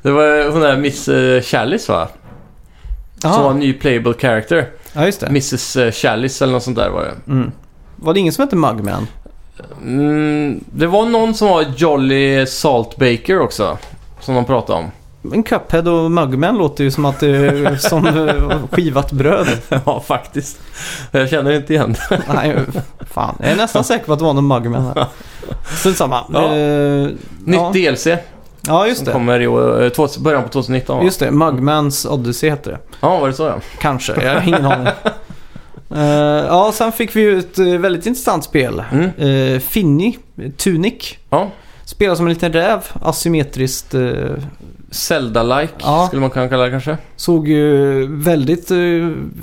Speaker 2: Det var hon där Miss eh, Chalice va? Som var en
Speaker 1: Jaha,
Speaker 2: ny playable character.
Speaker 1: ja just det.
Speaker 2: Mrs eh, Chalice eller något sånt där var det.
Speaker 1: Mm. Var det ingen som hette Mugman?
Speaker 2: Mm, det var någon som var Jolly Salt Baker också. Som de pratade om.
Speaker 1: Men Cuphead och Mugman låter ju som att det är som eh, skivat bröd.
Speaker 2: ja, faktiskt. Jag känner inte igen det.
Speaker 1: Nej, fan. Jag är nästan säker på att det var någon Mugman här. Strunt samma.
Speaker 2: Ja.
Speaker 1: Eh,
Speaker 2: Nytt
Speaker 1: ja.
Speaker 2: DLC
Speaker 1: ja, just
Speaker 2: som
Speaker 1: det.
Speaker 2: kommer i år, eh, två- början på 2019 va?
Speaker 1: Just det, Mugmans Odyssey heter det.
Speaker 2: Ja, var det så ja?
Speaker 1: Kanske, jag har ingen aning. Eh, ja, sen fick vi ju ett eh, väldigt intressant spel.
Speaker 2: Mm.
Speaker 1: Eh, Finny, eh, Tunic.
Speaker 2: Ja.
Speaker 1: Spelar som en liten räv, asymmetriskt. eh,
Speaker 2: Zelda-like
Speaker 1: Ja.
Speaker 2: skulle man kunna kalla det kanske.
Speaker 1: Såg ju väldigt eh,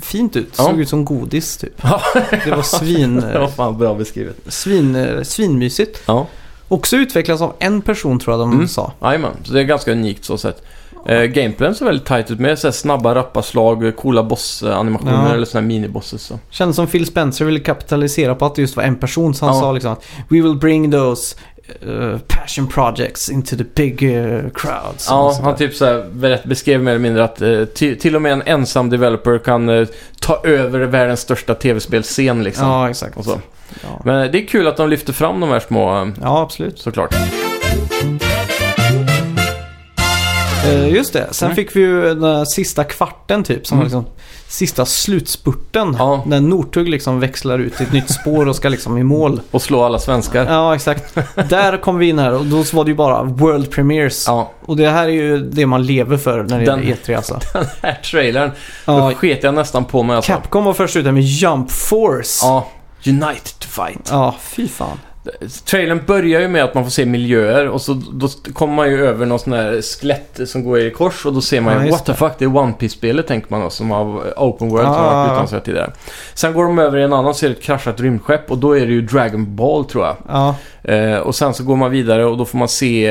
Speaker 1: fint ut.
Speaker 2: Ja.
Speaker 1: Såg ut som godis typ.
Speaker 2: Ja.
Speaker 1: Det var svin,
Speaker 2: Det var fan bra beskrivet.
Speaker 1: svin, eh, svinmysigt.
Speaker 2: Ja.
Speaker 1: Också utvecklas av en person tror jag de
Speaker 2: Mm.
Speaker 1: sa.
Speaker 2: Jajamän, så det är ganska unikt så sett. Eh, gameplayen ser väldigt tight ut med så här snabba rappa slag, eh, coola bossanimationer
Speaker 1: Ja.
Speaker 2: eller såna här minibosses. Så.
Speaker 1: Kändes som Phil Spencer ville kapitalisera på att det just var en person. Så han
Speaker 2: Ja.
Speaker 1: sa liksom att We will bring those eh, passion projects into the big eh, crowds. Och
Speaker 2: Ja,
Speaker 1: sådär.
Speaker 2: han typ så här, berätt, beskrev mer eller mindre att eh, ti- till och med en ensam developer kan eh, ta över världens största tv-spelsscen liksom.
Speaker 1: ja exakt.
Speaker 2: Och så.
Speaker 1: Ja.
Speaker 2: Men eh, det är kul att de lyfter fram de här små, eh,
Speaker 1: ja, absolut.
Speaker 2: såklart.
Speaker 1: Eh, just det. Sen
Speaker 2: Mm.
Speaker 1: fick vi ju den här sista kvarten typ. Som
Speaker 2: Mm.
Speaker 1: var liksom sista slutspurten.
Speaker 2: Ja.
Speaker 1: När Northug liksom växlar ut i ett nytt spår och ska liksom i mål.
Speaker 2: Och slå alla svenskar.
Speaker 1: Ja, exakt. Där kom vi in här och då så var det ju bara World Premiers.
Speaker 2: Ja,
Speaker 1: Och det här är ju det man lever för när det
Speaker 2: Den-
Speaker 1: gäller E3 alltså.
Speaker 2: den här trailern.
Speaker 1: Ja,
Speaker 2: Då sket jag nästan på mig alltså.
Speaker 1: Capcom var först ute med Jump Force.
Speaker 2: Ja, Unite to fight.
Speaker 1: Ja, fy fan.
Speaker 2: Trailern börjar ju med att man får se miljöer och så då kommer man ju över någon sån här skelett som går i kors och då ser man
Speaker 1: Ja,
Speaker 2: ju
Speaker 1: just
Speaker 2: What the fuck, det är One piece spelet tänker man då som har Open World som
Speaker 1: Ah.
Speaker 2: har varit utanför tidigare. Sen går de över i en annan och ser ett kraschat rymdskepp och då är det ju Dragon Ball tror jag.
Speaker 1: Ja,
Speaker 2: Eh, och sen så går man vidare och då får man se...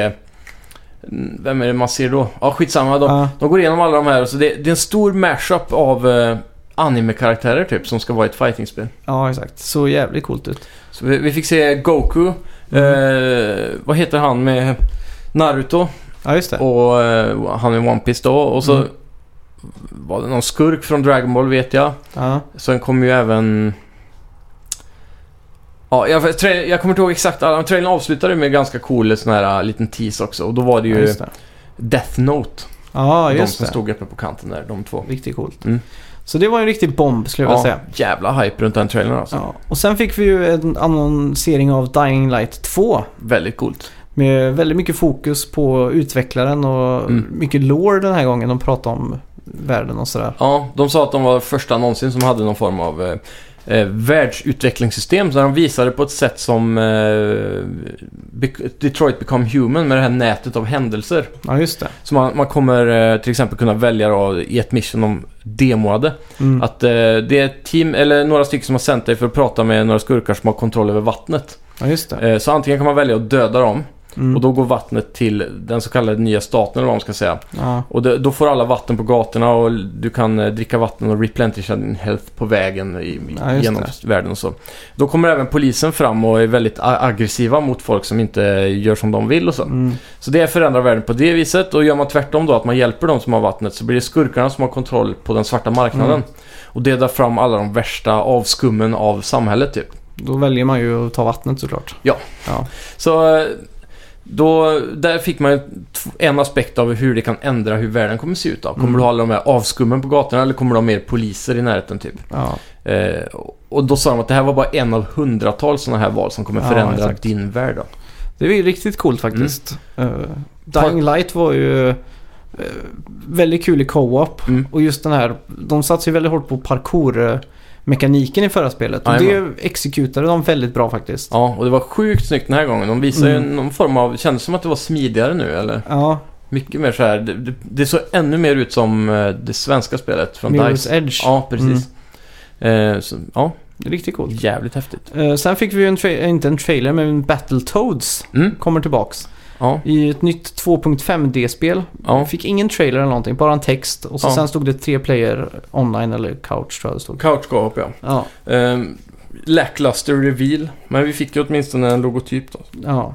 Speaker 2: mm, Vem är det man ser då? Ja, skitsamma. De,
Speaker 1: ja,
Speaker 2: de går igenom alla de här och så det, det är en stor mashup av eh, anime-karaktärer typ som ska vara ett fightingspel.
Speaker 1: ja, exakt. Så jävligt coolt ut.
Speaker 2: Så vi, vi fick se Goku,
Speaker 1: Mm.
Speaker 2: eh, vad heter han med Naruto
Speaker 1: Ja, just det.
Speaker 2: och eh, han med One Piece då. Och så
Speaker 1: Mm.
Speaker 2: var det någon skurk från Dragon Ball vet jag.
Speaker 1: Ja,
Speaker 2: Sen kom ju även Ja, jag, tra- jag kommer inte ihåg exakt alla, men trailern avslutade med ganska cool sån här eh, liten tease också. Och då var det
Speaker 1: Ja,
Speaker 2: ju
Speaker 1: just det.
Speaker 2: Death Note.
Speaker 1: Ja,
Speaker 2: de
Speaker 1: just
Speaker 2: som
Speaker 1: det.
Speaker 2: stod uppe på kanten där, de två.
Speaker 1: Riktigt coolt.
Speaker 2: Mm.
Speaker 1: Så det var en riktig bomb skulle jag vilja säga.
Speaker 2: jävla hype runt den trailern alltså.
Speaker 1: Ja. Och sen fick vi ju en annonsering av Dying Light 2.
Speaker 2: Väldigt coolt.
Speaker 1: Med väldigt mycket fokus på utvecklaren och
Speaker 2: Mm.
Speaker 1: mycket lore den här gången. De pratade om världen och sådär.
Speaker 2: Ja, de sa att de var första någonsin som hade någon form av eh, eh, världsutvecklingssystem. Så de visade på ett sätt som eh, Be- Detroit Become Human med det här nätet av händelser.
Speaker 1: Ja, just det.
Speaker 2: Så man, man kommer eh, till exempel kunna välja då, i ett mission de demoade.
Speaker 1: Mm.
Speaker 2: Att eh, det är ett team, eller några stycken som har sänt dig för att prata med några skurkar som har kontroll över vattnet.
Speaker 1: Ja, just det.
Speaker 2: Eh, så antingen kan man välja att döda dem
Speaker 1: Mm.
Speaker 2: och då går vattnet till den så kallade nya staten eller vad man ska säga.
Speaker 1: Mm. Ja,
Speaker 2: Och det, då får alla vatten på gatorna och du kan eh, dricka vatten och replentisha din health på vägen i, i-
Speaker 1: Ja, just
Speaker 2: genom världen och så. Då kommer även polisen fram och är väldigt a- aggressiva mot folk som inte gör som de vill och så.
Speaker 1: mm.
Speaker 2: Så det förändrar världen på det viset och gör man tvärtom då att man hjälper de som har vattnet så blir det skurkarna som har kontroll på den svarta marknaden.
Speaker 1: Mm.
Speaker 2: Och det drar fram alla de värsta avskummen av samhället typ.
Speaker 1: Då väljer man ju att ta vattnet såklart.
Speaker 2: Så eh, då, där fick man ju t- en aspekt av hur det kan ändra hur världen kommer se ut. Då. Kommer
Speaker 1: Mm.
Speaker 2: du ha alla de här avskummen på gatorna eller kommer du ha mer poliser i närheten typ?
Speaker 1: Ja,
Speaker 2: Eh, och då sa de att det här var bara en av hundratals sådana här val som kommer
Speaker 1: Ja,
Speaker 2: förändra
Speaker 1: exakt.
Speaker 2: din värld. Då.
Speaker 1: det är ju riktigt coolt faktiskt.
Speaker 2: Mm.
Speaker 1: Eh, Dying Light var ju eh, väldigt kul i co-op.
Speaker 2: Mm.
Speaker 1: Och just den här, de satsade ju väldigt hårt på parkour-mekaniken i förra spelet. Och
Speaker 2: Jajamän.
Speaker 1: det exekutade de väldigt bra faktiskt. Ja,
Speaker 2: Ja, och det var sjukt snyggt den här gången. De visar ju
Speaker 1: Mm.
Speaker 2: någon form av... Kändes som att det var smidigare nu eller? Mycket mer så här. Det, det, det såg ännu mer ut som eh, det svenska spelet från
Speaker 1: Mirror's
Speaker 2: DICE.
Speaker 1: Edge. Mm.
Speaker 2: Ja, precis. Eh, så, ja,
Speaker 1: Riktigt coolt.
Speaker 2: jävligt häftigt.
Speaker 1: Eh, sen fick vi ju en, tra- inte en trailer, men Battletoads
Speaker 2: Mm,
Speaker 1: kommer tillbaks.
Speaker 2: ja,
Speaker 1: I ett nytt 2.5D-spel.
Speaker 2: ja.
Speaker 1: Fick ingen trailer eller någonting, bara en text. Och så
Speaker 2: Ja.
Speaker 1: sen stod det tre player online eller couch tror jag det stod.
Speaker 2: Couch co-op, ja.
Speaker 1: Ja,
Speaker 2: Ehm, lackluster reveal. Men vi fick ju åtminstone en logotyp då.
Speaker 1: ja.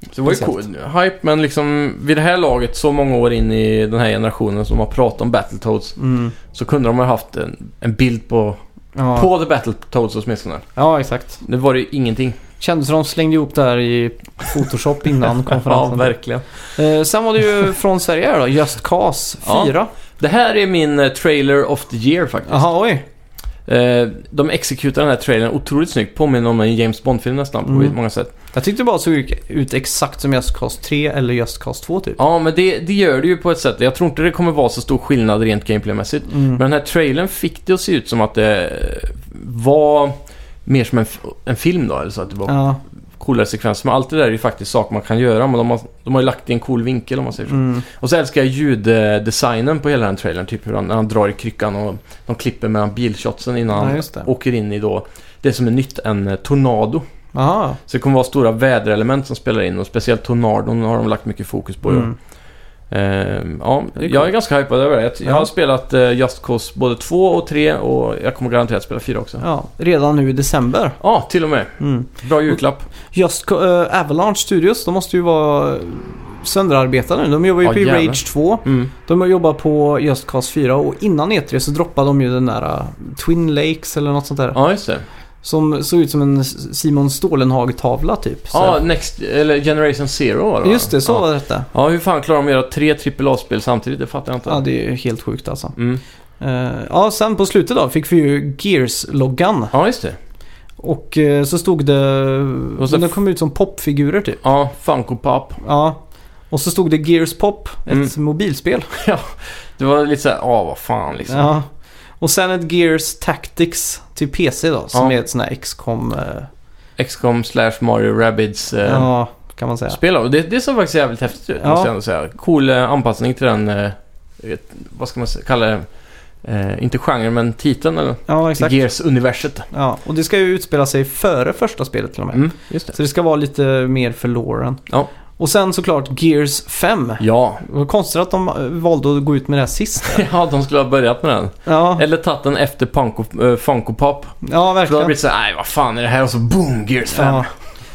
Speaker 2: Så det var ju
Speaker 1: Exakt.
Speaker 2: cool. Hype, men liksom vid det här laget, så många år in i den här generationen som har pratat om Battletoads,
Speaker 1: Mm.
Speaker 2: så kunde de ha haft en, en bild på,
Speaker 1: Ja.
Speaker 2: på The Battletoads åtminstone.
Speaker 1: ja, exakt.
Speaker 2: Nu var det ju ingenting.
Speaker 1: Kändes som de slängde ihop det här i Photoshop innan
Speaker 2: Ja,
Speaker 1: konferensen.
Speaker 2: verkligen.
Speaker 1: Eh, sen var det ju från Sverige här då, Just Cause 4.
Speaker 2: Det här är min eh, trailer of the year faktiskt.
Speaker 1: Jaha, oj.
Speaker 2: Eh, de exekutar den här trailern otroligt snyggt. Påminner om en James Bond-film nästan på
Speaker 1: Mm.
Speaker 2: många sätt.
Speaker 1: Jag tyckte det bara såg ut exakt som Just Cause 3 eller Just Cause 2 typ.
Speaker 2: Ja, men det, det gör det ju på ett sätt. Jag tror inte det kommer vara så stor skillnad rent gameplaymässigt.
Speaker 1: Mm.
Speaker 2: Men den här trailern fick det att se ut som att det var mer som en, f- en film då, eller så att det var
Speaker 1: Ja,
Speaker 2: coolare sekvenser. Men allt det där är ju faktiskt saker man kan göra, men de har, de har ju lagt i en cool vinkel om man säger så.
Speaker 1: mm.
Speaker 2: Och så älskar jag ljuddesignen på hela den trailern, typ hur han, när han drar i kryckan och de klipper mellan bilshotsen innan
Speaker 1: ja
Speaker 2: han
Speaker 1: just det.
Speaker 2: åker in i då det som är nytt, en eh, tornado.
Speaker 1: Jaha.
Speaker 2: Så det kommer vara stora väderelement som spelar in och speciellt tornadon har de lagt mycket fokus på. ju.
Speaker 1: Mm.
Speaker 2: Ehm, ja,
Speaker 1: Det är
Speaker 2: jag är
Speaker 1: coolt.
Speaker 2: ganska hypad över det. Jag, jag
Speaker 1: Ja.
Speaker 2: har spelat eh, Just Cause både 2 och 3 och jag kommer garanterat spela 4 också. Ja,
Speaker 1: Ja, redan nu i december.
Speaker 2: till och med.
Speaker 1: Mm.
Speaker 2: Bra julklapp.
Speaker 1: Just Co- eh, Avalanche Studios, de måste ju vara sönderarbetade nu. De jobbar ju
Speaker 2: Ja,
Speaker 1: på
Speaker 2: jävlar.
Speaker 1: Rage 2.
Speaker 2: Mm.
Speaker 1: De har jobbat på Just Cause 4 och innan E3 så droppade de ju den där eh, Twin Lakes eller något sånt där.
Speaker 2: Ja, just det.
Speaker 1: Som såg ut som en S- Simon Stålenhag-tavla typ. Så-
Speaker 2: Ja, Next, eller Generation Zero var det va?
Speaker 1: Just det, så
Speaker 2: ja.
Speaker 1: var detta.
Speaker 2: ja, hur fan klarar de att göra tre AAA-spel samtidigt? Det fattar jag inte.
Speaker 1: Ja, det är ju helt sjukt alltså.
Speaker 2: Mm.
Speaker 1: Eh, ja, sen på slutet då fick vi ju Gears-loggan.
Speaker 2: Ja, just det.
Speaker 1: Och eh, så stod det...
Speaker 2: Och så-
Speaker 1: De kom ut som popfigurer typ.
Speaker 2: Ja, Funko Pop.
Speaker 1: Ja. Och så stod det Gears Pop,
Speaker 2: Mm.
Speaker 1: ett mobilspel.
Speaker 2: Det var lite såhär, ja vad fan liksom.
Speaker 1: Ja. Och sen ett Gears Tactics till PC då, som
Speaker 2: Ja.
Speaker 1: är ett sånt här XCOM... Eh,
Speaker 2: XCOM slash Mario Rabbids eh,
Speaker 1: Ja, kan man säga.
Speaker 2: spel. Och det, det såg faktiskt jävligt häftigt ut,
Speaker 1: Ja.
Speaker 2: måste jag ändå säga. Cool eh, anpassning till den, eh, eh, vad ska man säga- kalla det? Eh, inte genren, men titeln eller?
Speaker 1: Ja, exakt.
Speaker 2: Gears-universet.
Speaker 1: Ja, och det ska ju utspela sig före första spelet till och med.
Speaker 2: Mm, just det.
Speaker 1: Så det ska vara lite mer för loren.
Speaker 2: Ja.
Speaker 1: Och sen såklart Gears 5.
Speaker 2: Ja.
Speaker 1: Det var konstigt att de eh, valde att gå ut med det här sist.
Speaker 2: ja, de skulle ha börjat med den.
Speaker 1: Ja,
Speaker 2: Eller tagit den efter Funko, eh, Funko Pop.
Speaker 1: ja
Speaker 2: För då hade det
Speaker 1: verkligen.
Speaker 2: blivit såhär, nej vad fan är det här? Och så boom, Gears 5.
Speaker 1: Ja.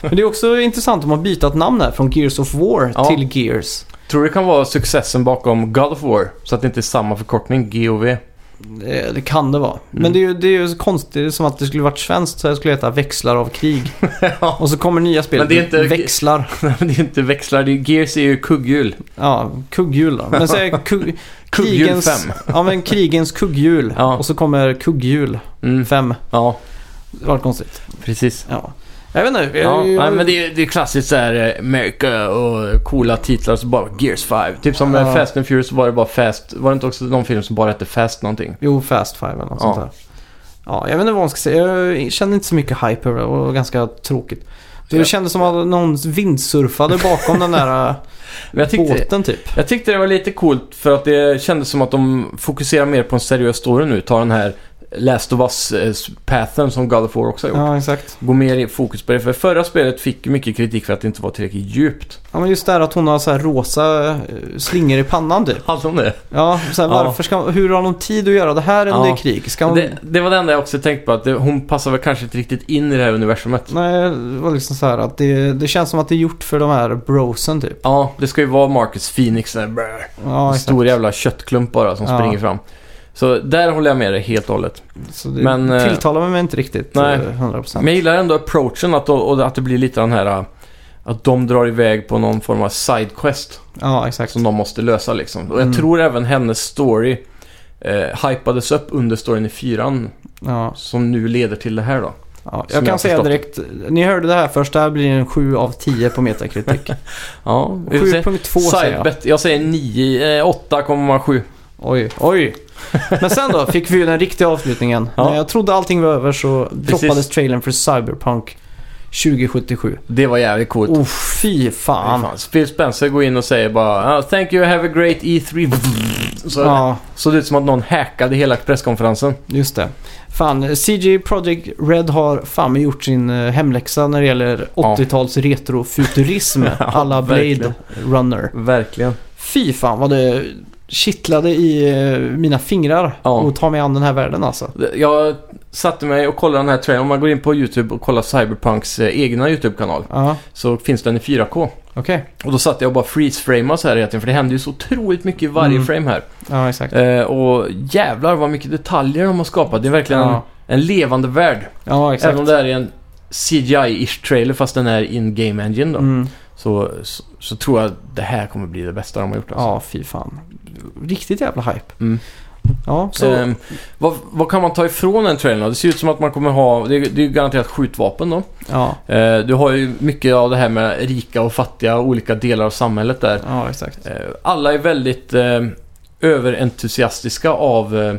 Speaker 1: Men det är också intressant att de har bytt namn här från Gears of War
Speaker 2: Ja.
Speaker 1: till Gears.
Speaker 2: Tror det kan vara successen bakom God of War. Så att det inte är samma förkortning, GOV.
Speaker 1: Eh, Det, det kan det vara.
Speaker 2: Mm.
Speaker 1: Men det är ju, det är ju så konstigt. Det är som att det skulle varit svenskt så här skulle det heta Växlar av krig.
Speaker 2: ja.
Speaker 1: Och så kommer nya spel.
Speaker 2: Men det är inte-
Speaker 1: Växlar.
Speaker 2: Nej, men det är inte växlar, det är, Gears är ju kugghjul.
Speaker 1: Ja, kugghjul då. Men säg kug,
Speaker 2: Kugghjul
Speaker 1: krigens,
Speaker 2: fem.
Speaker 1: Ja, men krigens kugghjul.
Speaker 2: Ja.
Speaker 1: Och så kommer kugghjul
Speaker 2: Mm.
Speaker 1: 5.
Speaker 2: Ja,
Speaker 1: Det var konstigt.
Speaker 2: precis.
Speaker 1: Ja. Jag vet inte.
Speaker 2: Ja,
Speaker 1: Jag,
Speaker 2: nej,
Speaker 1: jag,
Speaker 2: men det är, det är klassiskt såhär America och coola titlar så bara Gears 5. Typ som
Speaker 1: Ja.
Speaker 2: eh, Fast and Furious så var det bara Fast. Var det inte också någon film som bara hette Fast någonting?
Speaker 1: Jo, Fast Five eller något
Speaker 2: Ja.
Speaker 1: sånt där. Ja, jag vet inte vad man ska säga. Jag känner inte så mycket hype över det och ganska tråkigt. Det
Speaker 2: Ja.
Speaker 1: kändes som att någon vindsurfade bakom den där äh,
Speaker 2: Men jag tyckte,
Speaker 1: båten typ.
Speaker 2: jag tyckte det var lite coolt för att det kändes som att de fokuserar mer på en seriös story nu. Tar den här Last of Us-pathen som God of War också har gjort.
Speaker 1: Ja, exakt.
Speaker 2: Gå mer i fokus på det. För förra spelet fick ju mycket kritik för att det inte var tillräckligt djupt.
Speaker 1: Ja, men just det här att hon har så här rosa äh, slingor i pannan typ.
Speaker 2: Hade de det?
Speaker 1: Ja, så här,
Speaker 2: Ja.
Speaker 1: varför ska hur har hon tid att göra det här under
Speaker 2: Ja.
Speaker 1: krig? Ska hon...
Speaker 2: det? Det var det enda jag också tänkte på. Att det, hon passar väl kanske inte riktigt in i det här universumet.
Speaker 1: Nej, det var liksom så här att det, det känns som att det är gjort för de här brosen typ.
Speaker 2: Ja, det ska ju vara Marcus Phoenix. Där. brr.
Speaker 1: Ja,
Speaker 2: en
Speaker 1: exakt.
Speaker 2: stor jävla köttklump bara som
Speaker 1: Ja.
Speaker 2: springer fram. Så där håller jag med dig helt och hållet.
Speaker 1: Så det
Speaker 2: men, eh,
Speaker 1: tilltalar mig inte riktigt eh,
Speaker 2: nej.
Speaker 1: nej. 100%.
Speaker 2: Men jag gillar ändå approachen att, och att det blir lite den här äh, att de drar iväg på någon form av sidequest
Speaker 1: Ja, exakt.
Speaker 2: som de måste lösa liksom. Och jag
Speaker 1: Mm.
Speaker 2: tror även hennes story eh, hypades upp under storyn i fyran
Speaker 1: Ja.
Speaker 2: som nu leder till det här då.
Speaker 1: Ja,
Speaker 2: Som
Speaker 1: jag kan
Speaker 2: jag
Speaker 1: säga
Speaker 2: förstått.
Speaker 1: direkt, ni hörde det här först, det här blir en 7 av 10 på Metacritic.
Speaker 2: Ja, vi får se.
Speaker 1: 7.2 säger jag.
Speaker 2: Sidebet, jag säger 9, eh, 8,7.
Speaker 1: Oj, oj. Men sen då fick vi ju den riktiga avslutningen.
Speaker 2: Ja.
Speaker 1: När jag trodde allting var över så droppades trailern för Cyberpunk 2077.
Speaker 2: Det var jävligt coolt.
Speaker 1: Oh, fy fan.
Speaker 2: Fan. Phil Spencer går in och säger bara "Ah, “Thank you, have a great E3”. Så
Speaker 1: Ja,
Speaker 2: såg det ut som att någon hackade hela presskonferensen.
Speaker 1: just det. Fan, CG Project Red har fan med gjort sin eh, hemläxa när det gäller 80-tals retrofuturism.
Speaker 2: Ja,
Speaker 1: alla Blade
Speaker 2: verkligen.
Speaker 1: Runner.
Speaker 2: Verkligen.
Speaker 1: Fy fan vad det kittlade i eh, mina fingrar
Speaker 2: Ja.
Speaker 1: och ta mig an den här världen alltså.
Speaker 2: Jag satte mig och kollade den här trailern. Om man går in på YouTube och kollar Cyberpunks eh, egna YouTube-kanal
Speaker 1: Ja,
Speaker 2: så finns den i 4K.
Speaker 1: okej.
Speaker 2: Och då satt jag och bara freeze-framade så här egentligen för det händer ju så otroligt mycket i varje
Speaker 1: Mm.
Speaker 2: frame här.
Speaker 1: Ja, exakt.
Speaker 2: Eh, och jävlar vad mycket detaljer de har skapat. Det är verkligen
Speaker 1: Ja,
Speaker 2: en, en levande värld.
Speaker 1: ja exakt.
Speaker 2: Även om det här är en CGI-ish trailer fast den är in-game engine då.
Speaker 1: Mm.
Speaker 2: Så, så, så tror jag att det här kommer bli det bästa de har gjort. Alltså.
Speaker 1: Ja, fy fan. Riktigt jävla hype.
Speaker 2: Mm.
Speaker 1: Ja, så...
Speaker 2: Så, ehm, vad, vad kan man ta ifrån den trailern då? Det ser ut som att man kommer ha, det, är- det är ju garanterat skjutvapen då.
Speaker 1: Ja,
Speaker 2: Eh, du har ju mycket av det här med rika och fattiga och olika delar av samhället där.
Speaker 1: ja, exakt.
Speaker 2: Eh, alla är väldigt eh, överentusiastiska av eh,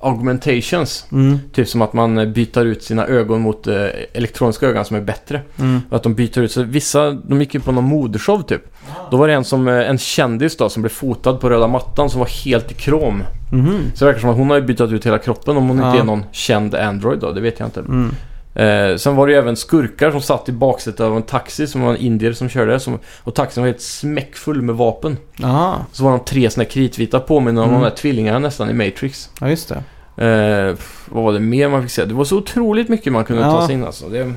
Speaker 2: augmentations.
Speaker 1: Mm,
Speaker 2: Typ som att man eh, byter ut sina ögon mot eh, elektroniska ögon som är bättre.
Speaker 1: mm.
Speaker 2: Och att de byter ut. Så vissa, de gick ju på någon modeshow typ. Då var det en, som, eh, en kändis då som blev fotad på röda mattan som var helt i krom.
Speaker 1: Mhm.
Speaker 2: Så det verkar som att hon har ju bytt ut hela kroppen om hon
Speaker 1: Ja.
Speaker 2: inte är någon känd Android då, det vet jag inte.
Speaker 1: Mm.
Speaker 2: Eh, sen var det ju även skurkar som satt i baksätet av en taxi som var en indier som körde. Som, och taxin var helt smäckfull med vapen.
Speaker 1: Aha.
Speaker 2: Så var de tre såna här kritvita påminner om
Speaker 1: Mm.
Speaker 2: de där tvillingarna nästan i Matrix.
Speaker 1: Ja, just det.
Speaker 2: Eh, pff, vad var det mer man fick se? Det var så otroligt mycket man kunde
Speaker 1: Ja.
Speaker 2: ta sig in alltså. Det,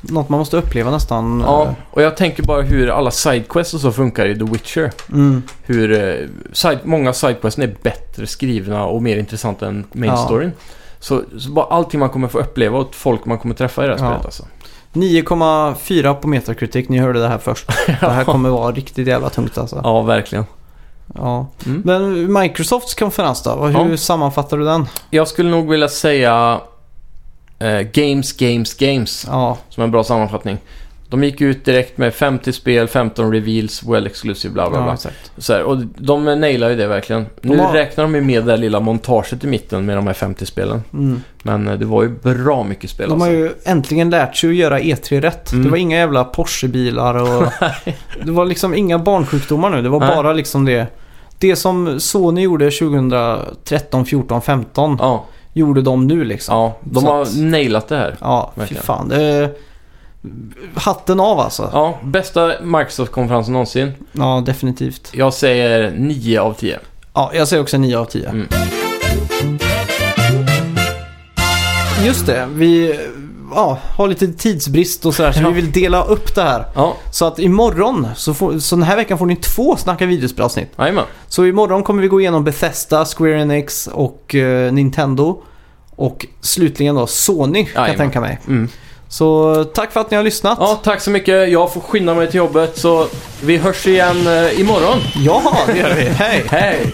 Speaker 1: Något man måste uppleva nästan. eh,
Speaker 2: ja, och jag tänker bara hur alla sidequests och så funkar i The Witcher.
Speaker 1: eh, Mm.
Speaker 2: hur eh, side, många sidequests är bättre skrivna och mer intressanta än main
Speaker 1: Ja.
Speaker 2: storyn. Så, så bara allting man kommer få uppleva och folk man kommer träffa i det här
Speaker 1: Ja.
Speaker 2: spelet alltså.
Speaker 1: 9,4 på Metacritic. Ni hörde det här först. Det här kommer vara riktigt jävla tungt alltså.
Speaker 2: Ja, verkligen.
Speaker 1: Ja.
Speaker 2: Mm.
Speaker 1: Men Microsofts konferens då? Vad- Hur
Speaker 2: Ja.
Speaker 1: sammanfattar du den?
Speaker 2: Jag skulle nog vilja säga eh, Games, Games, Games
Speaker 1: Ja,
Speaker 2: som en bra sammanfattning. De gick ut direkt med 50 spel, 15 reveals, well exclusive, bla bla
Speaker 1: ja
Speaker 2: bla.
Speaker 1: exakt.
Speaker 2: Så här, och de nailar ju det verkligen.
Speaker 1: De
Speaker 2: nu
Speaker 1: har-
Speaker 2: räknar de ju med det där lilla montaget i mitten med de här 50 spelen.
Speaker 1: Mm.
Speaker 2: Men eh, det var ju bra mycket spel
Speaker 1: De har
Speaker 2: alltså.
Speaker 1: ju äntligen lärt sig att göra E3 rätt.
Speaker 2: Mm.
Speaker 1: Det var inga jävla Porsche-bilar och... det var liksom inga barnsjukdomar nu. Det var
Speaker 2: Nej.
Speaker 1: bara liksom det... Det som Sony gjorde 2013, 14, 15
Speaker 2: Ja,
Speaker 1: gjorde de nu liksom.
Speaker 2: ja, de
Speaker 1: Så
Speaker 2: har
Speaker 1: att-
Speaker 2: nailat det här.
Speaker 1: Ja, fy
Speaker 2: Verkligen.
Speaker 1: fan. Det... Hatten av alltså. Ja,
Speaker 2: Ja, bästa Microsoft-konferensen någonsin.
Speaker 1: definitivt.
Speaker 2: Jag säger 9 av 10.
Speaker 1: Ja, jag säger också 9 av 10.
Speaker 2: Mm.
Speaker 1: Just det, vi ja, har lite tidsbrist och sådär så
Speaker 2: Ja.
Speaker 1: vi vill dela upp det här.
Speaker 2: Ja,
Speaker 1: Så att imorgon, så, får, så den här veckan får ni två Snacka videospelsavsnitt.
Speaker 2: jajamän.
Speaker 1: Så imorgon kommer vi gå igenom Bethesda, Square Enix och eh, Nintendo. Och slutligen då Sony kan jag
Speaker 2: Jajamän.
Speaker 1: tänka mig.
Speaker 2: Mm.
Speaker 1: Så tack för att ni har lyssnat.
Speaker 2: Ja, tack så mycket. Jag får skynda mig till jobbet så vi hörs igen eh, imorgon.
Speaker 1: ja det gör vi. Hej!
Speaker 2: Hej!